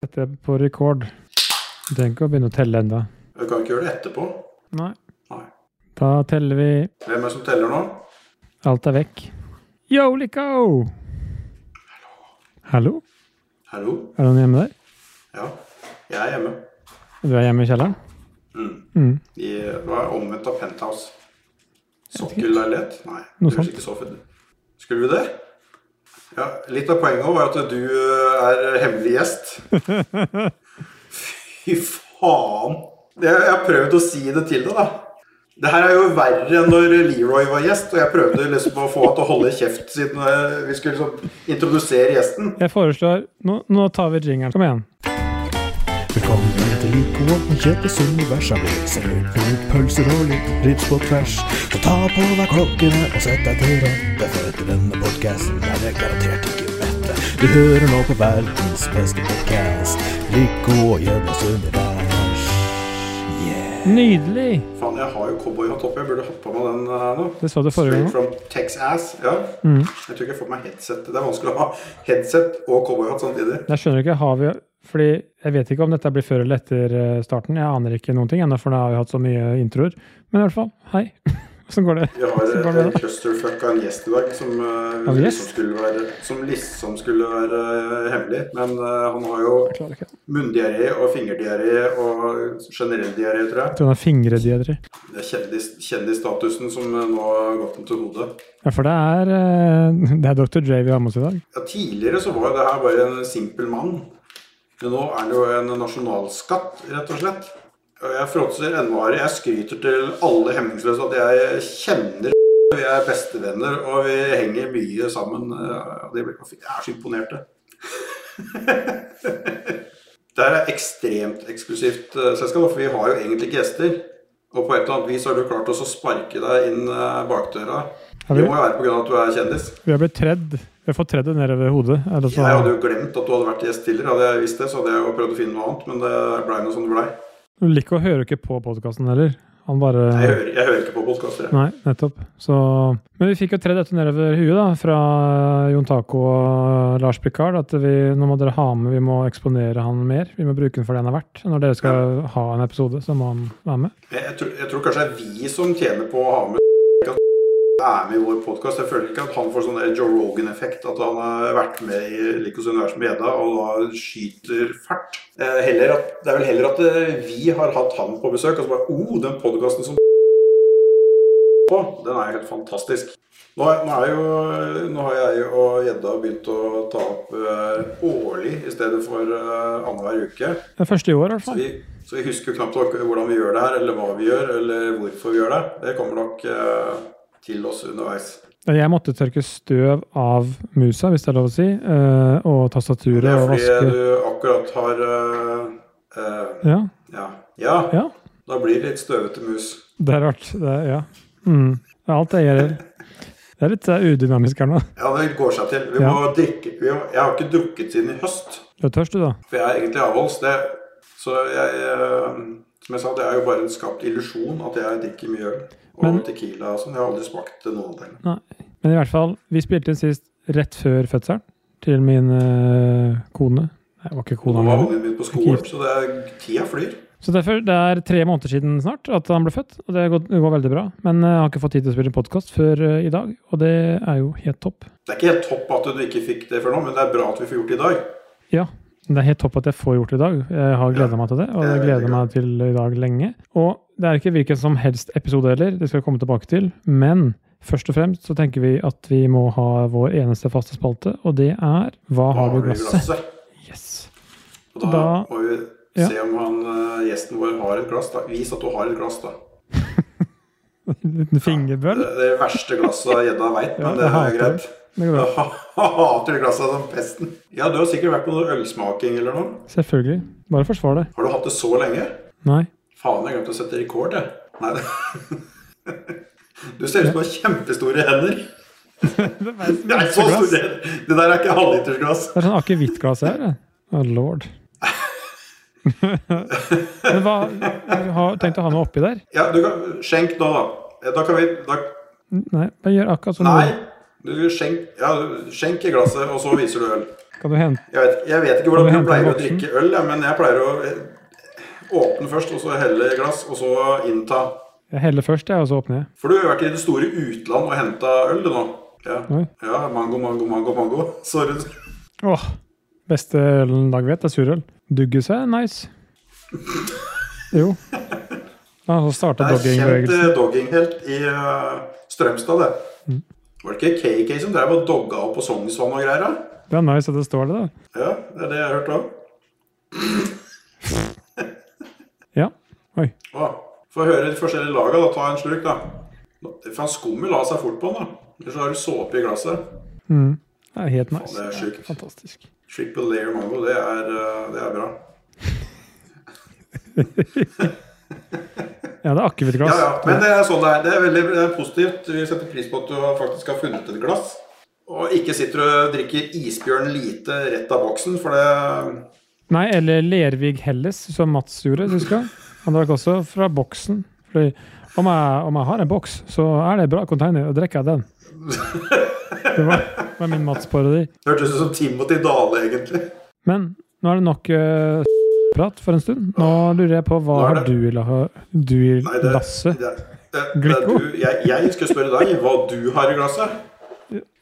Dette er på rekord. Du trenger ikke å begynne å telle ennå. Vi kan ikke gjøre det etterpå. Nei. Nei. Da teller vi Hvem er det som teller nå? Alt er vekk. Yo, Lico! Hallo? Hallo? Er det noen hjemme der? Ja, jeg er hjemme. Du er hjemme i kjelleren? Mm. Mm. I, hva er omvendt av penthouse? Sokkelleilighet? Nei, Noe det høres sånt. ikke så fett ut. Skulle vi det? Ja, litt av poenget var at du eh, er hemmelig gjest. Fy faen! Det, jeg har prøvd å si det til deg, da. Det her er jo verre enn når Leroy var gjest, og jeg prøvde liksom å få han til å holde kjeft siden eh, vi skulle liksom introdusere gjesten. Jeg foreslår Nå, nå tar vi jingeren. Kom igjen. Velkommen til Lipo og Kjetil Sundberg som leser ut noen pølser og litt rips på tvers. Så ta på deg klokkene og sett deg til rette, for etter denne podkasten er det garantert ikke mette. Du hører nå på verdens beste podkast, Lipo og Kjetil Sundberg. Yeah. Nydelig! Faen, jeg har jo cowboyhatt opp. Jeg burde hatt på meg den eh, nå. Det sa du Mm. forrige gang Straight from Texas. Ja. Jeg tror ikke jeg får meg headset. Det er vanskelig å ha headset og cowboyhatt samtidig. Jeg skjønner ikke, har vi Fordi jeg vet ikke om dette blir før eller etter eh, starten. Jeg aner ikke noen ting ennå, for nå har vi hatt så mye introer. Men i hvert fall, hei. Åssen går det? Vi har Så går et det eh, clusterfuck av en gjest i dag som, eh, Av en gjest? som, skulle være, som liksom skulle være eh, hemmelig. Men eh, han har jo Jeg klarer ikke. munndiaré og fingerdiaré og generell diaré, tror Jeg jeg. tror han har fingrediedre. Det er kjendis, kjendisstatusen som eh, nå har gått ham til hodet. Ja, for det er, eh, det er Dr. Dre vi har med oss i dag. Ja, tidligere så var jo det her bare en simpel mann. Men nå er det jo en nasjonalskatt, rett og slett. Og Jeg fråtser ennvarer. Jeg skryter til alle hemningsløse at jeg kjenner Vi er bestevenner, og vi henger mye sammen. eh, og det blir- Jeg er så imponerte. det her er ekstremt eksklusivt eh, selskap, da, for vi har jo egentlig ikke gjester. Og på et eller annet vis har du klart også å sparke deg inn eh, bakdøra. Har Det vi- må jo være pga. at du er kjendis. Vi har blitt tredd. Vi har fått tredd nedover hodet. Er det så- Jeg hadde jo glemt at du hadde vært gjest tidligere. Hadde jeg visst det, så hadde jeg jo prøvd å finne noe annet, men det blei noe som det blei. Lico hører ikke på podkasten heller. Han Jeg, bare hører- jeg hører ikke på podkaster. Nei, nettopp. Så Men vi fikk jo tredd dette nedover huet, da, fra Jon Taco og Lars Picard, at vi, nå må dere ha med Vi må eksponere han mer. Vi må bruke han for det han er verdt. Når dere skal ha en episode, så må han være med. Jeg, jeg, tror, jeg tror kanskje det er vi som tjener på å ha med at er med i vår podkast. Jeg føler ikke at han får sånn der Joe Rogan-effekt, at han har vært med i Likos univers med Edda og da skyter fart. Eh, heller at, det er vel heller at eh, vi har hatt han på besøk, og så bare oh, den podkasten som på, den er helt fantastisk. Nå, er- nå, er jo, nå har jeg og Gjedda begynt å ta opp eh, årlig i stedet for eh, annenhver uke. Det er første i år, i hvert Så fall. vi, så vi husker jo knapt nok hvordan vi gjør det her, eller hva vi gjør, eller hvorfor vi gjør det. Det kommer nok eh, til oss underveis. Jeg måtte tørke støv av musa, hvis det er lov å si, eh, og Det tastaturet er og fordi vaske du akkurat har eh, eh, Ja. ja. ja, ja. da blir det litt støvete mus. Det er rart. Det er, ja. Mm. Ja, Alt det gjør Det er litt eh, udynamisk her nå. Ja, det går seg til. Vi Ja. må drikke. Vi må, jeg har ikke drukket siden i høst, Du er tørst, du, da? for jeg er egentlig avholds. Det, så jeg, eh, som jeg sa, det er jo bare en skapt illusjon at jeg drikker mye øl. Og Men- tequila og sånn. Jeg har aldri smakt noen ting. Nei. Men i hvert fall, vi spilte inn sist rett før fødselen til min eh, kone. Nei, det var ikke Nå kona var mi. ungen min på skolen, så det er, tida flyr. Så derfor, det er tre måneder siden snart at han ble født, og det går, det går veldig bra. Men eh, jeg har ikke fått tid til å spille podkast før eh, i dag, og det er jo helt topp. Det er ikke helt topp at du ikke fikk det før nå, men det er bra at vi får gjort det i dag. Ja. Det er helt topp at jeg får gjort det i dag. Jeg har gleda meg til det. Og jeg jeg er gleder veldig meg til i dag lenge. Og det er ikke hvilken som helst episode heller, det skal vi komme tilbake til. Men først og fremst så tenker vi at vi må ha vår eneste faste spalte, og det er Hva har du i vi glasset? glasset? Yes. Og da, Da- må vi ja. se om han, eh, gjesten vår har et glass. da. Vis at du har et glass, da. En liten fingerbøl. Det er det verste glasset gjedda veit, Ja, jeg men det hater er greit. Det går bra. Jeg hater det glasset som pesten. Ja, du har sikkert vært på noe ølsmaking eller noe. Selvfølgelig. Bare forsvar det. Har du hatt det så lenge? Nei. Faen, jeg glemte å sette rekord, jeg. Nei, det... Du ser ut som du har kjempestore hender. Det Det er så store er hender. Det der er ikke halvlitersglass. sånn akevittglass her. det. Å, lord. Men hva har du tenkt å ha noe oppi der? Ja, du kan... Skjenk nå, da. Da kan vi da... Nei, bare gjør akkurat som du Nei, du skjenk, ja, du- skjenk i glasset, og så viser du øl. Kan du hente Jeg vet, jeg vet ikke hvordan Kan du du hente en pleier å voksen? drikke øl, jeg, men jeg pleier å eh, åpne først, og så helle i glass, og så innta. Jeg heller først, jeg, og så åpner jeg. For du har vært i det store utland og henta øl, du nå. Ja. Oi. ja, mango, mango, mango, mango. Sorry. Åh, Beste ølen Dag vet, er surøl. Dugge seg, nice. Jo. Ja, så Det starta er kjent doggingbevegelsen. eh, dogging-helt i eh, Strømstad, det. Var det ikke KK som drev og dogga opp på Sognsvann og greier? da? Det er nice at det står det, da. Ja, det er det jeg har hørt òg. Ja. Oi. Få høre de forskjellige laga, da. Ta en slurk, da. Faen, skummet la seg fort på den, da. Ellers har du såpe i glasset. Mm. Det er helt nice. det er sjukt. fantastisk. Triple layer mango, det er, eh, det er bra. Ja, det er Ja, akevittglass. ja, Men det er sånn det er. Det er veldig det er positivt. Vi setter pris på at du har- faktisk har funnet et glass. Og ikke sitter og drikker isbjørn lite rett av boksen, for det Nei, eller Lervig Helles, som Mats gjorde, husker jeg. Han drakk også fra boksen. Fordi om jeg, om jeg har en boks, så er det bra container, og drikker jeg den. Det var, var min Mats-parodi. hørtes ut som Timothy Dale, egentlig. Men nå er det nok eh, prat for en stund. Nå lurer jeg på hva Nå er har det- du i la- du i Nei, det, glasset? det, det, det, Glico? du, jeg, jeg skal spørre deg hva du har i glasset.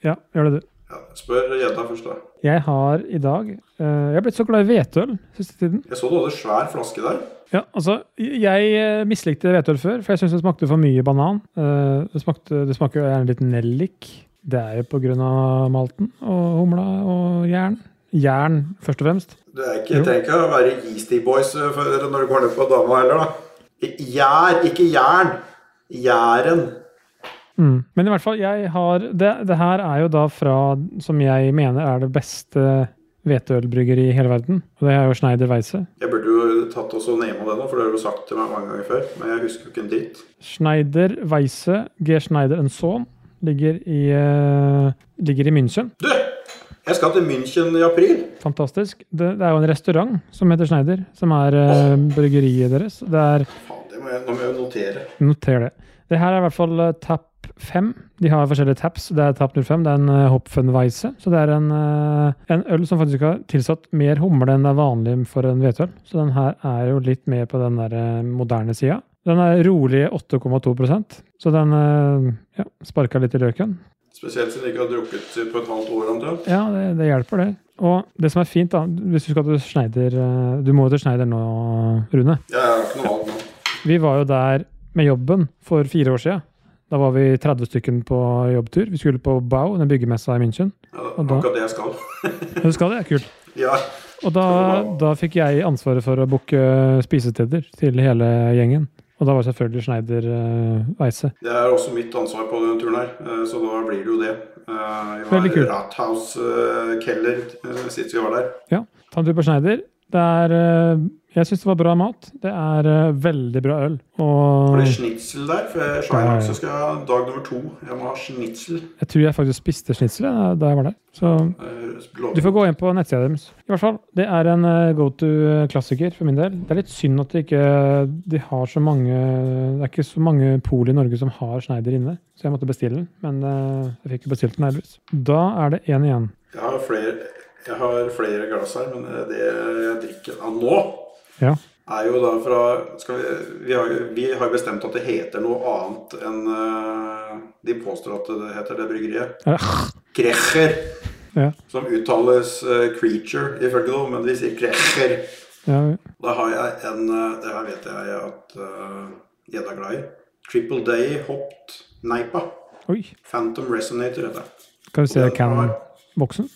Ja, gjør det du. Ja, spør jenta først, da. Jeg har i dag eh, Jeg er blitt så glad i hvetøl siste tiden. Jeg så du hadde svær flaske der. Ja, altså, jeg eh, mislikte hvetøl før, for jeg syntes det smakte for mye banan. Eh, Det, smakte, det smaker jo gjerne litt nellik. Det er jo på grunn av malten og humla og jern. Jern, først og fremst. Du er ikke, trenger ikke å være Yeasty Boys eh, for, når du går ned på dama heller, da. Gjær, ikke jern. Jæren. Mm. Men i hvert fall, jeg har det, det her er jo da fra som jeg mener er det beste hveteølbryggeriet i hele verden. Og det er jo Schneider Weisse. Jeg burde jo tatt også name av det nå, for det har du sagt til meg mange ganger før. Men jeg husker jo ikke en dritt. Schneider Weisse G. Schneider Sohn ligger i, eh, ligger i München. Du! Jeg skal til München i april. Fantastisk. Det, det er jo en restaurant som heter Schneider, som er eh, bryggeriet deres. Det er, Faen, det må jeg, nå må jeg jo notere. noter det. Det her er i hvert fall eh, tap 5. De har forskjellige taps. Det er tap 05, det er en eh, Hopfenweisse. Så det er en, eh, en øl som faktisk har tilsatt mer humle enn det er vanlig for en hvetøl. Så den her er jo litt mer på den der eh, moderne sida. Den er rolige 8,2 så den eh, ja, sparka litt i løken. Spesielt siden jeg ikke har drukket på et halvt år, omtrent. Ja, det, det hjelper, det. Og det som er fint, da, hvis du skal til Schneider eh, Du må jo til Schneider nå, Rune. Jeg har ikke noe valg nå. Vi var jo der med jobben for fire år siden. Da var vi 30 stykken på jobbtur. Vi skulle på Bau, den byggemessa i München. Ja, det Og er da- akkurat det jeg skal. Men Du skal det, kult. Ja, Og da, da fikk jeg ansvaret for å booke spisesteder til hele gjengen. Og da var selvfølgelig Schneider eh, Weisse. Det er også mitt ansvar på denne turen her, eh, så da blir det jo det. Eh, Vi Veldig kult. har Rathaus eh, Keller eh, sist vi var der. Ja, ta en tur på Schneider. Det er eh, Jeg syns det var bra mat. Det er eh, veldig bra øl. Var det Og schnitzel der? For jeg Ja, ja. Skyrock, så skal jeg ha dag nummer to. Jeg må ha schnitzel. jeg tror jeg faktisk spiste schnitzel jeg, da jeg var der. Så Du Du får gå inn på nettsida deres. I hvert fall, Det er en eh, go to-klassiker for min del. Det er litt synd at de ikke de har så mange Det er ikke så mange pol i Norge som har Schneider inne, så jeg måtte bestille den. Men eh, jeg fikk jo bestilt den, heldigvis. Da er det én igjen. Jeg har flere, jeg har flere glass her, men eh, det jeg drikker av nå, Ja. er jo da fra skal vi, vi, har, jo- vi har jo bestemt at det heter noe annet enn eh, de påstår at det heter det bryggeriet. Er det Krecher, Ja. som uttales eh, creature ifølge noe, men de sier krecher. ja. Da har jeg en eh, Det her vet jeg at uh, Gjedda er glad i. Triple Day Hopped Neipa. Oi. Phantom Resonator heter det. Skal vi se can-boksen.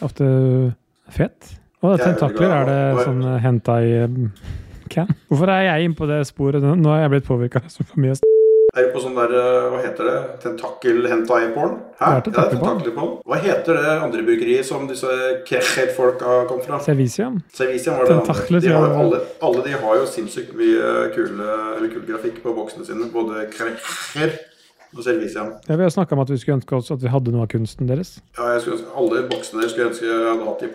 Ofte fet. Og Jeg er veldig tentakler. glad Er det i det. sånn hentai-can? Hvorfor er jeg inne på det sporet nå? Nå har jeg blitt påvirka så for mye. Er du på sånn der, eh, hva heter det, tentakel-hentai-porn? Hæ? Det er tentakelporn. tentakelporn. Hva heter det andre bryggeriet som disse Krechet-folka kom fra? Servicium? Servicium var det Tentakler, andre. tror De jeg. har, jo alle, alle de har jo sinnssykt mye kule, eller kul grafikk på boksene sine. Både Krechet og Servicium. Ja, vi har snakka om at vi skulle ønske oss at vi hadde noe av kunsten deres. Ja, jeg skulle, ønske- alle boksene der skulle jeg ønske jeg hadde hatt i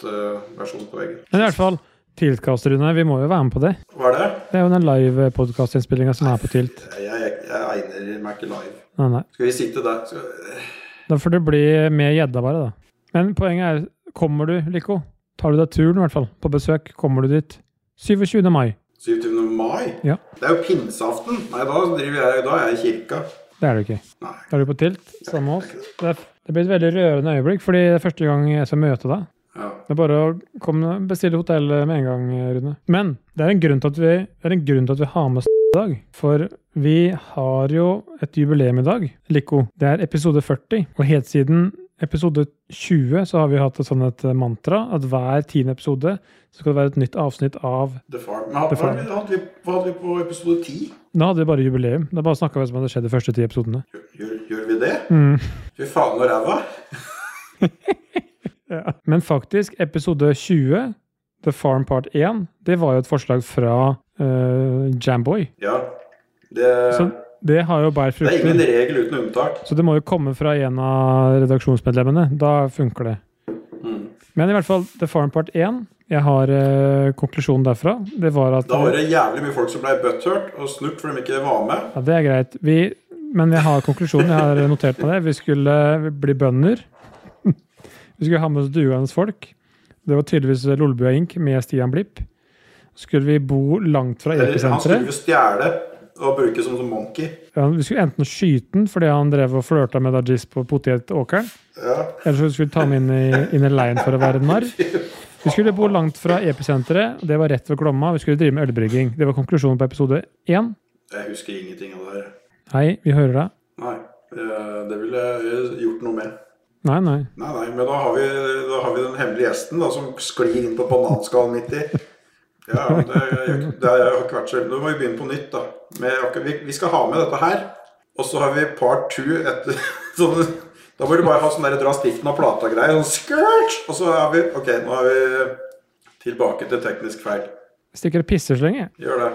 plakatversjon på veggen. Men i hvert fall, Tiltkast, Rune, vi må jo være med på det. Hva er det? Det er jo den live podkastinnspillinga som er på Tilt. Jeg, jeg, jeg egner meg ikke live. Nei, nei. Skal vi sitte der? Skal... Da får det bli med gjedda, bare, da. Men poenget er kommer du, Lico, tar du deg turen i hvert fall, på besøk, kommer du dit 27. mai. 27. mai? Ja. Det er jo pinseaften. Nei, da, driver jeg, da er jeg i kirka. Det er du ikke. Nei. Da er du på tilt, sammen med oss. Det, er- det blir et veldig rørende øyeblikk, fordi det er første gang jeg skal møte deg. Ja. Det er bare å komme, bestille hotell med en gang, Rune. Men det er en grunn til at vi, det er en grunn til at vi har med oss i dag. For vi har jo et jubileum i dag, Lico. Det er episode 40. Og helt siden episode 20 så har vi hatt et sånn et mantra at hver tiende episode så skal det være et nytt avsnitt av The Farm. Men hadde, The Farm. Hva, hadde vi, hva hadde vi på episode 10? Da hadde vi bare jubileum. Da bare snakka vi som om det skjedde de første ti episodene. Gjør, gjør, gjør vi det? Mm. Fy faen og ræva. Ja. Men faktisk, episode 20, The Farm Part 1, det var jo et forslag fra eh, Jamboy. Ja. Det, Så det har jo bært det er frukter. ingen regel uten unntak. Så det må jo komme fra en av redaksjonsmedlemmene. Da funker det. Mm. Men i hvert fall The Farm Part 1. Jeg har eh, konklusjonen derfra. Det var at Da var det jævlig mye folk som ble butthurt og snurt fordi de ikke var med. eh, Ja, det er greit. Vi, men jeg har konklusjonen. Jeg har notert meg det. Vi skulle bli bønder. Vi skulle ha med oss duende folk. Det var tydeligvis Lolbua Inc. med Stian Blipp. Så skulle vi bo langt fra Eller, han episenteret. skulle jo stjele og bruke som som monkey. Ja, Vi skulle enten skyte han fordi han drev og flørta med Dajis på potetåkeren. Ja. Eller så skulle vi ta ham inn i, inn i leiren for å være narr. Vi skulle bo langt fra episenteret. og Det var rett ved Glomma. Vi skulle drive med ølbrygging. Det var konklusjonen på episode én. Jeg husker ingenting av det her. Hei, vi hører deg. Nei. eh, Det ville jeg gjort noe med. Nei, nei. Nei, nei, men da har vi, da har vi den hemmelige gjesten da, som sklir inn på bananskallen midt i. Ja, men det, det har ikke vært så Nå må vi begynne på nytt, da. Med, akkurat- vi, vi skal ha med dette her. Og så har vi part two etter så, Da bør du bare ha sånn der dra stiften av plata-greier. Sånn skurt! Og så er vi Ok, nå er vi tilbake til teknisk feil. Stikker og pisser så lenge. Gjør det.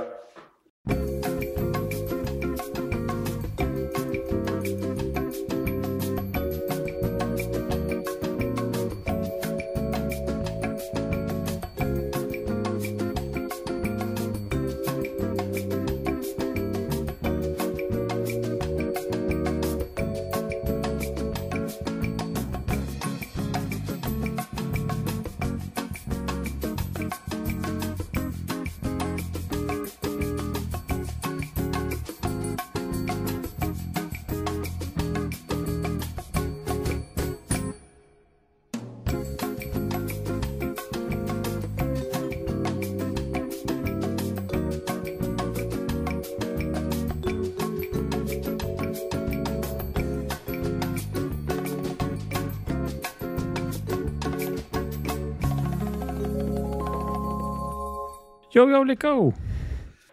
Yo, yo, Lico!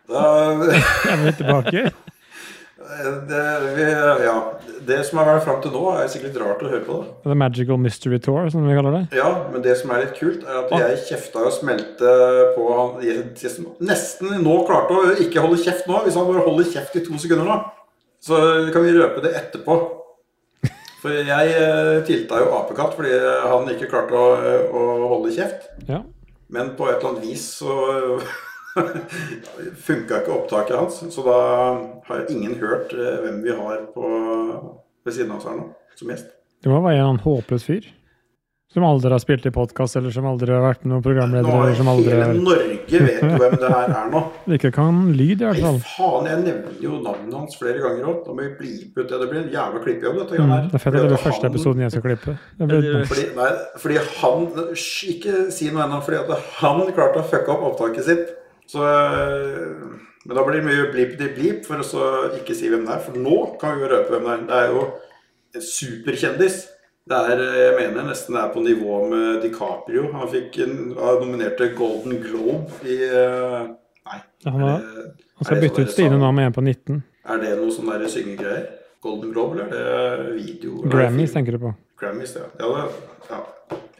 Da Er vi tilbake? det, vi, Ja. Det som har vært fram til nå, er sikkert litt rart å høre på, da. The Magical Mystery Tour, som vi kaller det. Ja, men det som er litt kult, er at Ah. jeg kjefta og smelte på han jeg som nesten nå klarte å ikke holde kjeft nå, hvis han bare holder kjeft i to sekunder nå. Så kan vi røpe det etterpå. For jeg eh, tilta jo apekatt fordi han ikke klarte å, eh, å holde kjeft. Ja. Men på et eller annet vis så funka ikke opptaket hans. Så da har ingen hørt eh, hvem vi har på, ved siden av oss her nå, som gjest. Det må være en annen håpløs fyr. Som aldri har spilt i podkast, eller som aldri har vært noen Nå programleder, har eller som aldri hele Norge vet jo hvem det her er nå. ikke kan lyd, i hvert Nei, fall. faen, jeg nevner jo navnet hans flere ganger òg. Da må vi blipe ut det. Det blir en jævla klippejobb, dette. grann Mm, her. det er fett at det Fordi blir første han- episoden jeg skal klippe. Det blir, Fordi, nei, fordi han Hysj, Ikke si noe ennå, fordi at han klarte å fucke opp opptaket sitt. Så øh, Men da blir det mye blip-di-blip for å så ikke si hvem det er. For nå kan vi jo røpe hvem det er. Det er jo en superkjendis. Det er, øh, jeg mener nesten det er på nivå med DiCaprio. Han fikk en, var nominert til Golden Globe i øh, Nei. han, har, er det- han skal er det bytte sånn ut der Stine sang- nå med en på 19. Er det noe sånn der syngegreier? Golden Globe, eller er det video? eller Grammys film? tenker du på. Grammys, ja. ja, det, ja.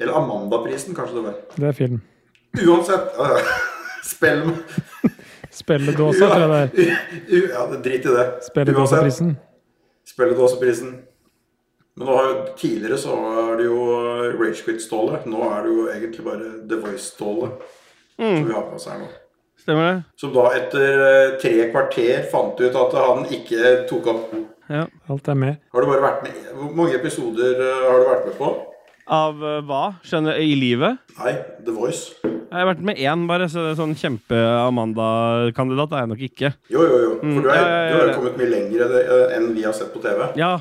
Eller Amanda-prisen, kanskje det var. Det er film. Uansett. Ja, ja. Spill Spelledåsa, tror jeg det er. U- Ja, det- drit i det. Spelledåseprisen. Spelledåseprisen. Men nå har jo, tidligere så er det jo eh, Rage Quit-Ståle. Nå er det jo egentlig bare The Voice-Ståle som vi har med oss her nå. Stemmer det? Som da etter eh, tre kvarter fant ut at han ikke tok opp Ja. Alt er med. Har du bare vært med Hvor mange episoder eh, har du vært med på? Av eh, hva? Skjønner, I livet? Nei, The Voice. Jeg har vært med én, bare. Så sånn kjempe-Amanda-kandidat er jeg nok ikke. Jo, jo, jo. For du, er, Mm. ja, ja, ja, du har ja. jo kommet mye lenger enn det- eh, enn vi har sett på TV. Ja,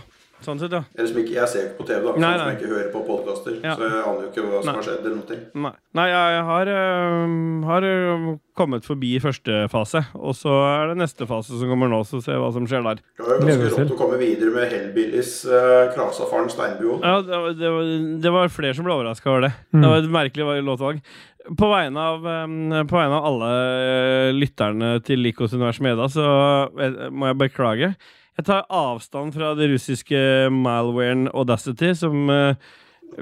sånn sett, ja. Eller som ikke, Jeg ser ikke på TV, da, sånn Nei, som nei. jeg ikke hører på podkaster. Ja. Så jeg aner jo ikke hva som Nei. har skjedd. eller noe. ting. Nei, Nei jeg, jeg har, øhm, har øhm, kommet forbi første fase. Og så er det neste fase som kommer nå, så ser vi hva som skjer der. Det var jo Gleder ganske oss rått til. å komme videre med Hellbillies uh, Krasafaren Steinbuo. Ja, det, var- det, var, det var flere som ble overraska over det. Det var et merkelig va- låtvalg. På vegne av, øhm, på vegne av alle øh, lytterne til Likos univers media, så øh, må jeg beklage. Jeg tar avstand fra det russiske malwaren Audacity, som øh,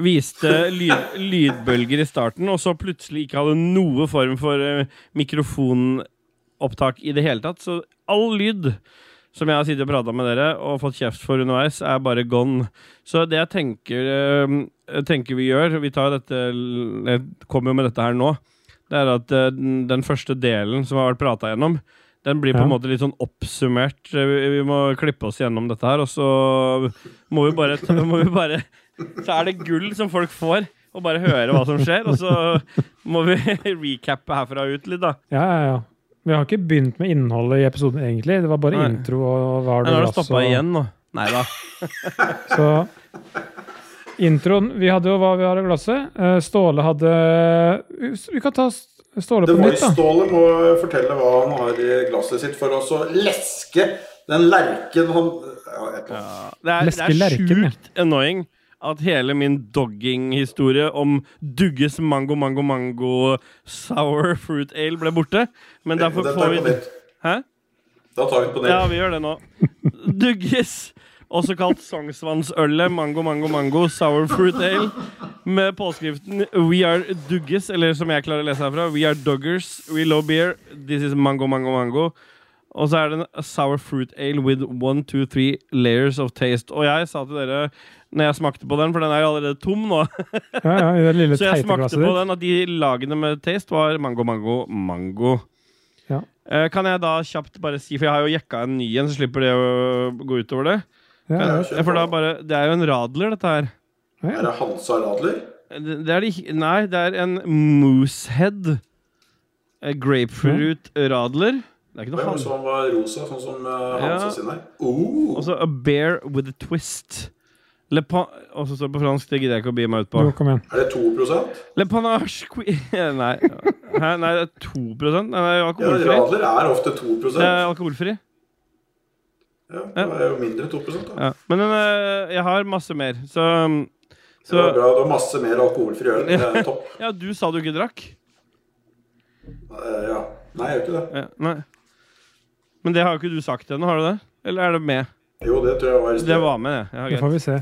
viste lyd, lydbølger i starten, og så plutselig ikke hadde noe form for eh, mikrofonopptak i det hele tatt. Så all lyd som jeg har sittet og prata med dere og fått kjeft for underveis, er bare gone. Så det jeg tenker, eh, tenker vi gjør Vi tar dette Jeg kommer jo med dette her nå. Det er at eh, den den første delen som har vært prata gjennom, den blir på Ja. en måte litt sånn oppsummert. Eh, Vi, vi må klippe oss gjennom dette her, og så må vi bare, må vi bare så er det gull som folk får, og bare høre hva som skjer. Og så må vi recappe herfra og ut litt, da. Ja, ja, ja. Vi har ikke begynt med innholdet i episoden, egentlig. Det var bare Nei. intro og var Nå det altså- har det glass stoppa og- igjen nå. Nei da. Så introen Vi hadde jo hva vi har i glasset. Eh, Ståle hadde eh, Vi kan ta Ståle The på nytt, da. Voice-Ståle må fortelle hva han har i glasset sitt for oss å leske den lerken han ja, et eller annet. Ja, Det er, Leske det er lerken, ja. sjukt annoying at hele min dogging-historie om Dugges mango, mango, mango sour fruit ale ble borte. Men derfor Det tar får vi på vi nytt. Hæ? Da tar vi på nytt. Ja, vi gjør det nå. Dugges. Også kalt Sognsvannsølet Mango Mango Mango Sour Fruit Ale. Med påskriften We are Dugges, eller som jeg klarer å lese herfra We are Duggers, we love beer, this is Mango Mango Mango. Og så er det en sour fruit ale with one, two, three layers of taste. Og jeg sa til dere når jeg smakte på den, for den er jo allerede tom nå Ja, ja, I det lille så jeg teite smakte glasset på ditt. den, og de lagene med taste var mango, mango, mango. Ja. Eh, Kan jeg da kjapt bare si, for jeg har jo jekka en ny en, så slipper det å gå utover det. Ja, ja. kjør Eh, For da på. bare, Det er jo en radler, dette her. Er det Hansa Radler? Det det er det ikke Nei, det er en moosehead. Eh, Grapefruit radler. Det er ikke noe Hvem han... som var rosa, sånn som eh, Hansa Ja. sin er? Oh, Og så a bear with a twist. Le pan... Og så står det på fransk, det gidder jeg ikke å bie meg ut på. Jo, kom igjen. er det 2 Ja, Le panache que... Nei. Hæ? Nei, det er 2 Nei, det er alkoholfri. Radler er ofte 2 Det er Ja, Eh, alkoholfri. det er jo mindre 2 da. Ja. Men eh, jeg har masse mer, så, um, Det så var bra, du har masse mer alkoholfri øl. Det er topp. Ja, du sa du ikke drakk. Eh, ja. Nei, jeg gjør ikke det. Ja, nei. Men det har jo ikke du sagt ennå, har du det? Eller er det med? Jo, det tror jeg var i sted. Det var med, det. Det Ja, får greit. vi se.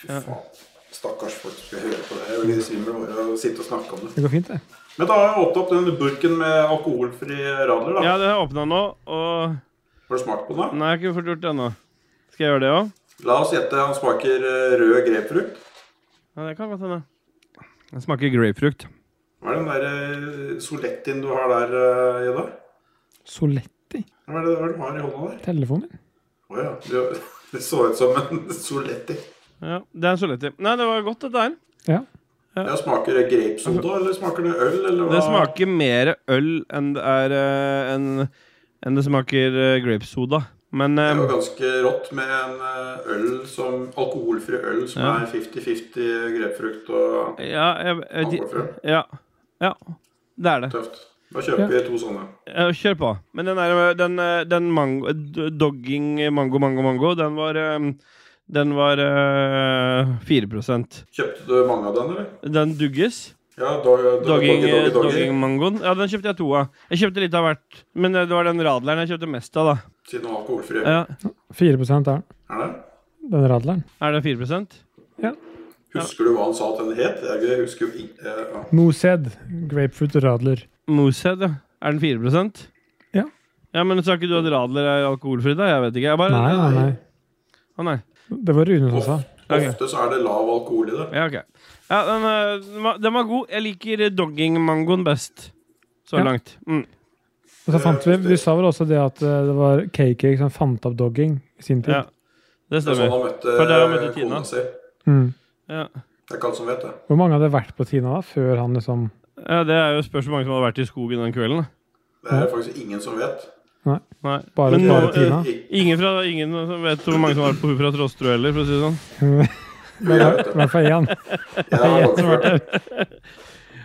Fy faen. Stakkars folk som skal høre på det. Jeg blir svimmel bare av å sitte og snakke om det. Det går fint, det. Men da har jeg åpnet opp den burken med alkoholfri radler, da. ja det har jeg åpna nå, og Har du smakt på den? da? Nei, jeg har ikke fått gjort det ennå. Skal jeg gjøre det òg? La oss gjette, han smaker eh, rød grepfrukt. Ja, det kan godt hende. Den smaker grapefrukt. Hva er den der eh, solettien du har der, eh, Jedda? Soletti? Hva er det hva er det du har i hånda der? Telefonen min? Å ja. du- Det så ut som en soletti. Ja, det er en soletti. Nei, det var godt, dette her. Ja. Ja, smaker det grapefruktsoda, eller smaker det øl, eller hva? Det smaker mer øl enn det er eh, enn- enn det smaker eh, grapesoda. Men Det eh, er jo ganske rått med en eh, øl som, alkoholfri øl som Ja. er 50-50 grepfrukt og ja, jeg, jeg, alkoholfri. Ja. ja. Det er det. Tøft. Da kjøper vi to sånne. Eh, Kjør på. Men den, der, den, eh, den mango, d- dogging mango, mango, mango, den var eh, Den var eh, 4 Kjøpte du mange av den, eller? Den dugges. Ja, dog, dog, Dogging, doggy, eh, doggy, doggy. dogging mangoen. Ja, den kjøpte jeg to av. Jeg kjøpte litt av hvert. Men eh, det var den radleren jeg kjøpte mest av, da. Siden det er alkoholfri. Ja. 4 er den. Er det? Den radleren. Er det 4 Husker du hva han sa at den het? Jeg husker jo ikke. eh, ja. Moosehead. Grapefruit radler. Moosehead, ja. Er den 4 Ja. Ja, Men sa ikke du at radler er alkoholfri, da? Jeg vet ikke. Jeg bare, Nei, nei, nei. Å, nei. Det var Rune som sa. Ok. Ofte så er det lav alkohol i det. Ja, ok. Ja, den, eh, den, var, den var god. Jeg liker dogging-mangoen best. Så Ja. langt. Mm. Og så fant vi Du sa vel også det at eh, det var KK som fant opp dogging i sin tid. Ja. Det Det er sånn stemmer. han møtte, For der han møtte eh, kona Tina. si. Mm. Ja. Det er ikke alle som vet det. Hvor mange hadde vært på Tina da, før han liksom Ja, det er jo spørs hvor mange som hadde vært i skogen den kvelden. da. Det er faktisk ingen som vet. Nei. Bare, Men bare nå- Tina? Ik- Ingen, fra, ingen som vet hvor mange som har vært på Hufra Trostrud heller, for å si det sånn. Men i hvert- i hvert fall én. Jeg har gått for det.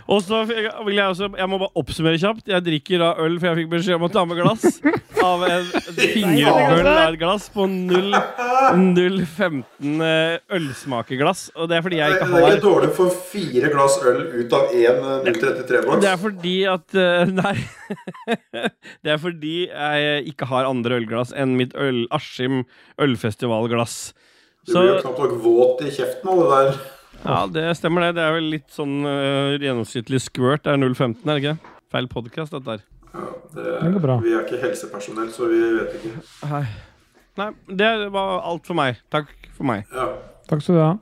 Og så fikk jeg- vil jeg også Jeg må bare oppsummere kjapt. Jeg drikker da øl, for jeg fikk beskjed om å ta med glass. Av en fingerøl av et glass på 0 0,15 eh, ølsmakeglass. Og det er fordi Det jeg er ikke det er har ikke dårlig for fire glass øl ut av én eh, 033-boks. Det er fordi at eh, Nei. det er fordi jeg ikke har andre ølglass enn mitt øl, Askim ølfestivalglass. Du Så blir jo knapt nok våt i kjeften av det der. ja, det stemmer, det. Det er vel litt sånn eh, gjennomsnittlig squirt. Det er 0,15, er det ikke? det? Feil podkast, dette her. Ja, Det går bra. Vi er ikke helsepersonell, så vi vet ikke. Nei. Nei, det var alt for meg. Takk for meg. Ja. Takk skal du ha.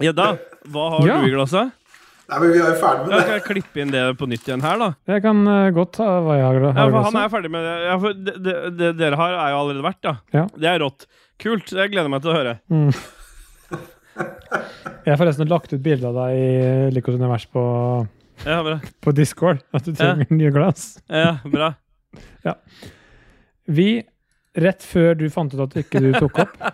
Gjedda, hva har Ja. du i glasset? Nei, men vi er jo ferdig med Jeg det. kan klippe inn det på nytt igjen her, da. Jeg kan eh, godt ta hva jeg har Ja, har i for han glasset. er ferdig med det. Ja, for det, det, det dere har, er jo allerede vært, da. Ja. Det er rått. Kult. Jeg gleder meg til å høre. Jeg har forresten lagt ut bilde av deg i Likos univers på, Ja, bra. på Discord. At du trenger nye glass. Ja, bra. Vi, rett før du fant ut at ikke du tok opp,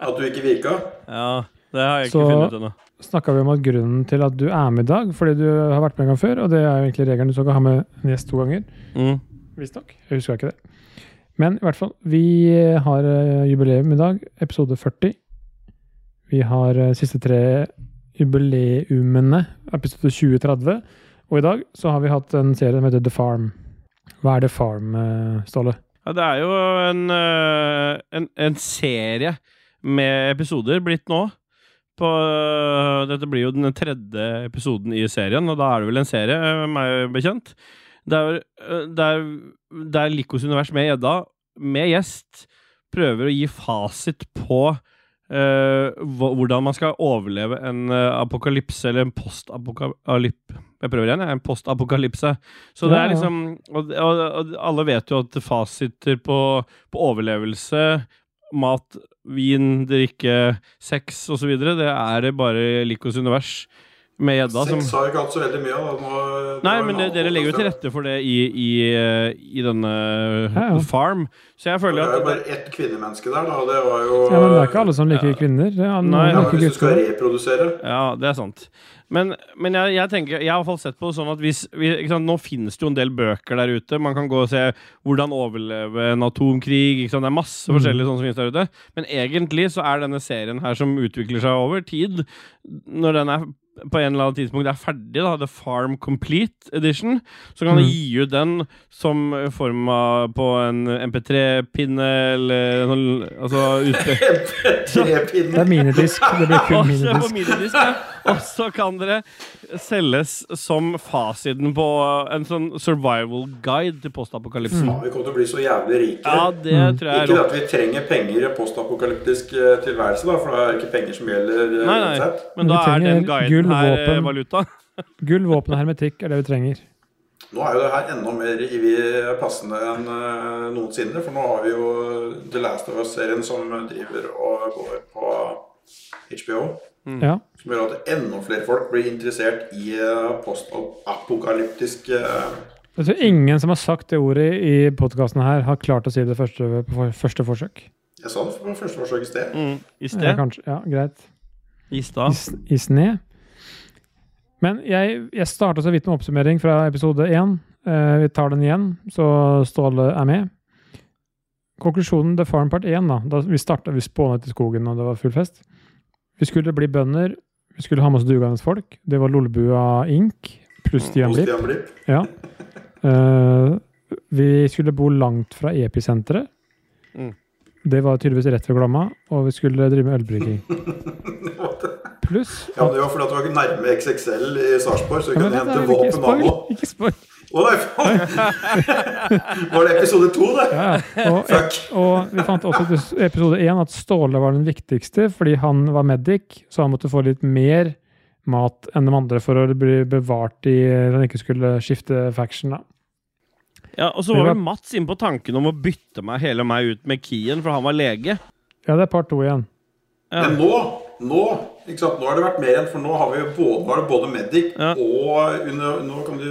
At du ikke virka. Ja, det har jeg ikke Så- funnet ut ennå. snakka vi om at grunnen til at du er med i dag, fordi du har vært med en gang før, og det er jo egentlig regelen du skal ikke ha med en gjest to ganger. Mm. Visstnok. Jeg husker ikke det. Men i hvert fall, vi har eh, jubileum i dag. Episode 40. Vi har eh, siste tre jubileumene. Episode 2030. Og i dag så har vi hatt en serie som heter The Farm. Hva er The Farm, eh, Ståle? Ja, det er jo en, øh, en, en serie med episoder blitt nå. På, øh, dette blir jo den tredje episoden i serien, og da er det vel en serie, øh, meg bekjent. Der, øh, der, der Likos univers med Edda, med gjest, prøver å gi fasit på øh, hva- hvordan man skal overleve en øh, apokalypse, eller en postapokalyp... Jeg prøver igjen, jeg. En postapokalypse. Så det Ja, ja. er liksom og, og, og alle vet jo at fasiter på, på overlevelse, mat, vin, drikke, sex osv., det er det bare Likos univers med gjedda som Sex har vi ikke hatt så veldig mye av. da. Nå- Nei, nå er men en det, annen dere legger jo til podcast, rette for det i, i, eh, i denne Ja, ja. farm, så jeg ja. Det føler er jo at bare ett kvinnemenneske der, da. og Det var jo Ja, men Det er ikke alle som liker Ja. kvinner. Det er Nei. noen Ja, men liker Hvis du skal gutter. reprodusere Ja, det er sant. Men, men jeg, jeg tenker, jeg har i hvert fall sett på det sånn at hvis, vi- ikke sant, Nå finnes det jo en del bøker der ute. Man kan gå og se 'Hvordan overleve en atomkrig'. Ikke sant? Det er masse forskjellig sånn som finnes der ute. Men egentlig så er denne serien her som utvikler seg over tid, når den er på en eller annen tidspunkt er ferdig, da, The Farm Complete Edition, så kan du Mm. gi ut den som form av på en MP3-pinne eller noe, altså utpe- Det trepinnen er minidisk. Det blir kun og se på minidisk. minidisk, ja. Og så kan dere selges som fasiten på en sånn survival guide til postapokalypsen. Mm. Vi kommer til å bli så jævlig rike. Ja, det tror jeg er Ikke det rått. at vi trenger penger i en postapokalyptisk eh, tilværelse, da, for det er ikke penger som gjelder. eh, Nei, nei. uansett. Men Men da vi er den trenger gull, guiden her eh, våpen. valuta. Gull, våpen og hermetikk er det vi trenger. Nå er jo det her enda mer i- passende enn eh, noensinne, for nå har vi jo The Last of Us-serien som driver og går på HBO. Ja. Som gjør at enda flere folk blir interessert i eh, postapokalyptisk eh, Jeg tror ingen som har sagt det ordet i podkasten her, har klart å si det første, på første forsøk. Jeg sa det på første forsøk i sted. Mm, I Ja, sted. kanskje. Ja, greit. I stad. i, i sne. Men jeg, jeg starta så vidt med oppsummering fra episode én. Eh, vi tar den igjen, så Ståle er med. Konklusjonen The Farm Part 1, da. da vi starta, vi spåna ut i skogen, og det var full fest. Vi skulle bli bønder. Vi skulle ha med oss dugende folk. Det var Lolbua Inc. pluss Stian hos Blipp. Stian Blipp. Ja. Eh, vi skulle bo langt fra episenteret. Mm. Det var tydeligvis rett ved Glomma, og vi skulle drive med ølbrygging. Pluss Ja, men det var fordi at det var nærme XXL i Sarpsborg, så vi kunne men det hente er jo ikke våpen av spoil! nå. Ikke spoil. Å nei, faen! Var det episode to, det? Ja, ja. og, Fuck! og vi fant også i episode én at Ståle var den viktigste, fordi han var medic, så han måtte få litt mer mat enn de andre for å bli bevart i at han ikke skulle skifte faction. da. Ja, og så var vel Mats inne på tanken om å bytte meg, hele meg ut med Kien, for han var lege. Ja, det er part to igjen. Ja. Men nå nå ikke sant? Nå har det vært mer enn For nå har vi jo både, nå er det både Medic Ja. og under, Nå kan du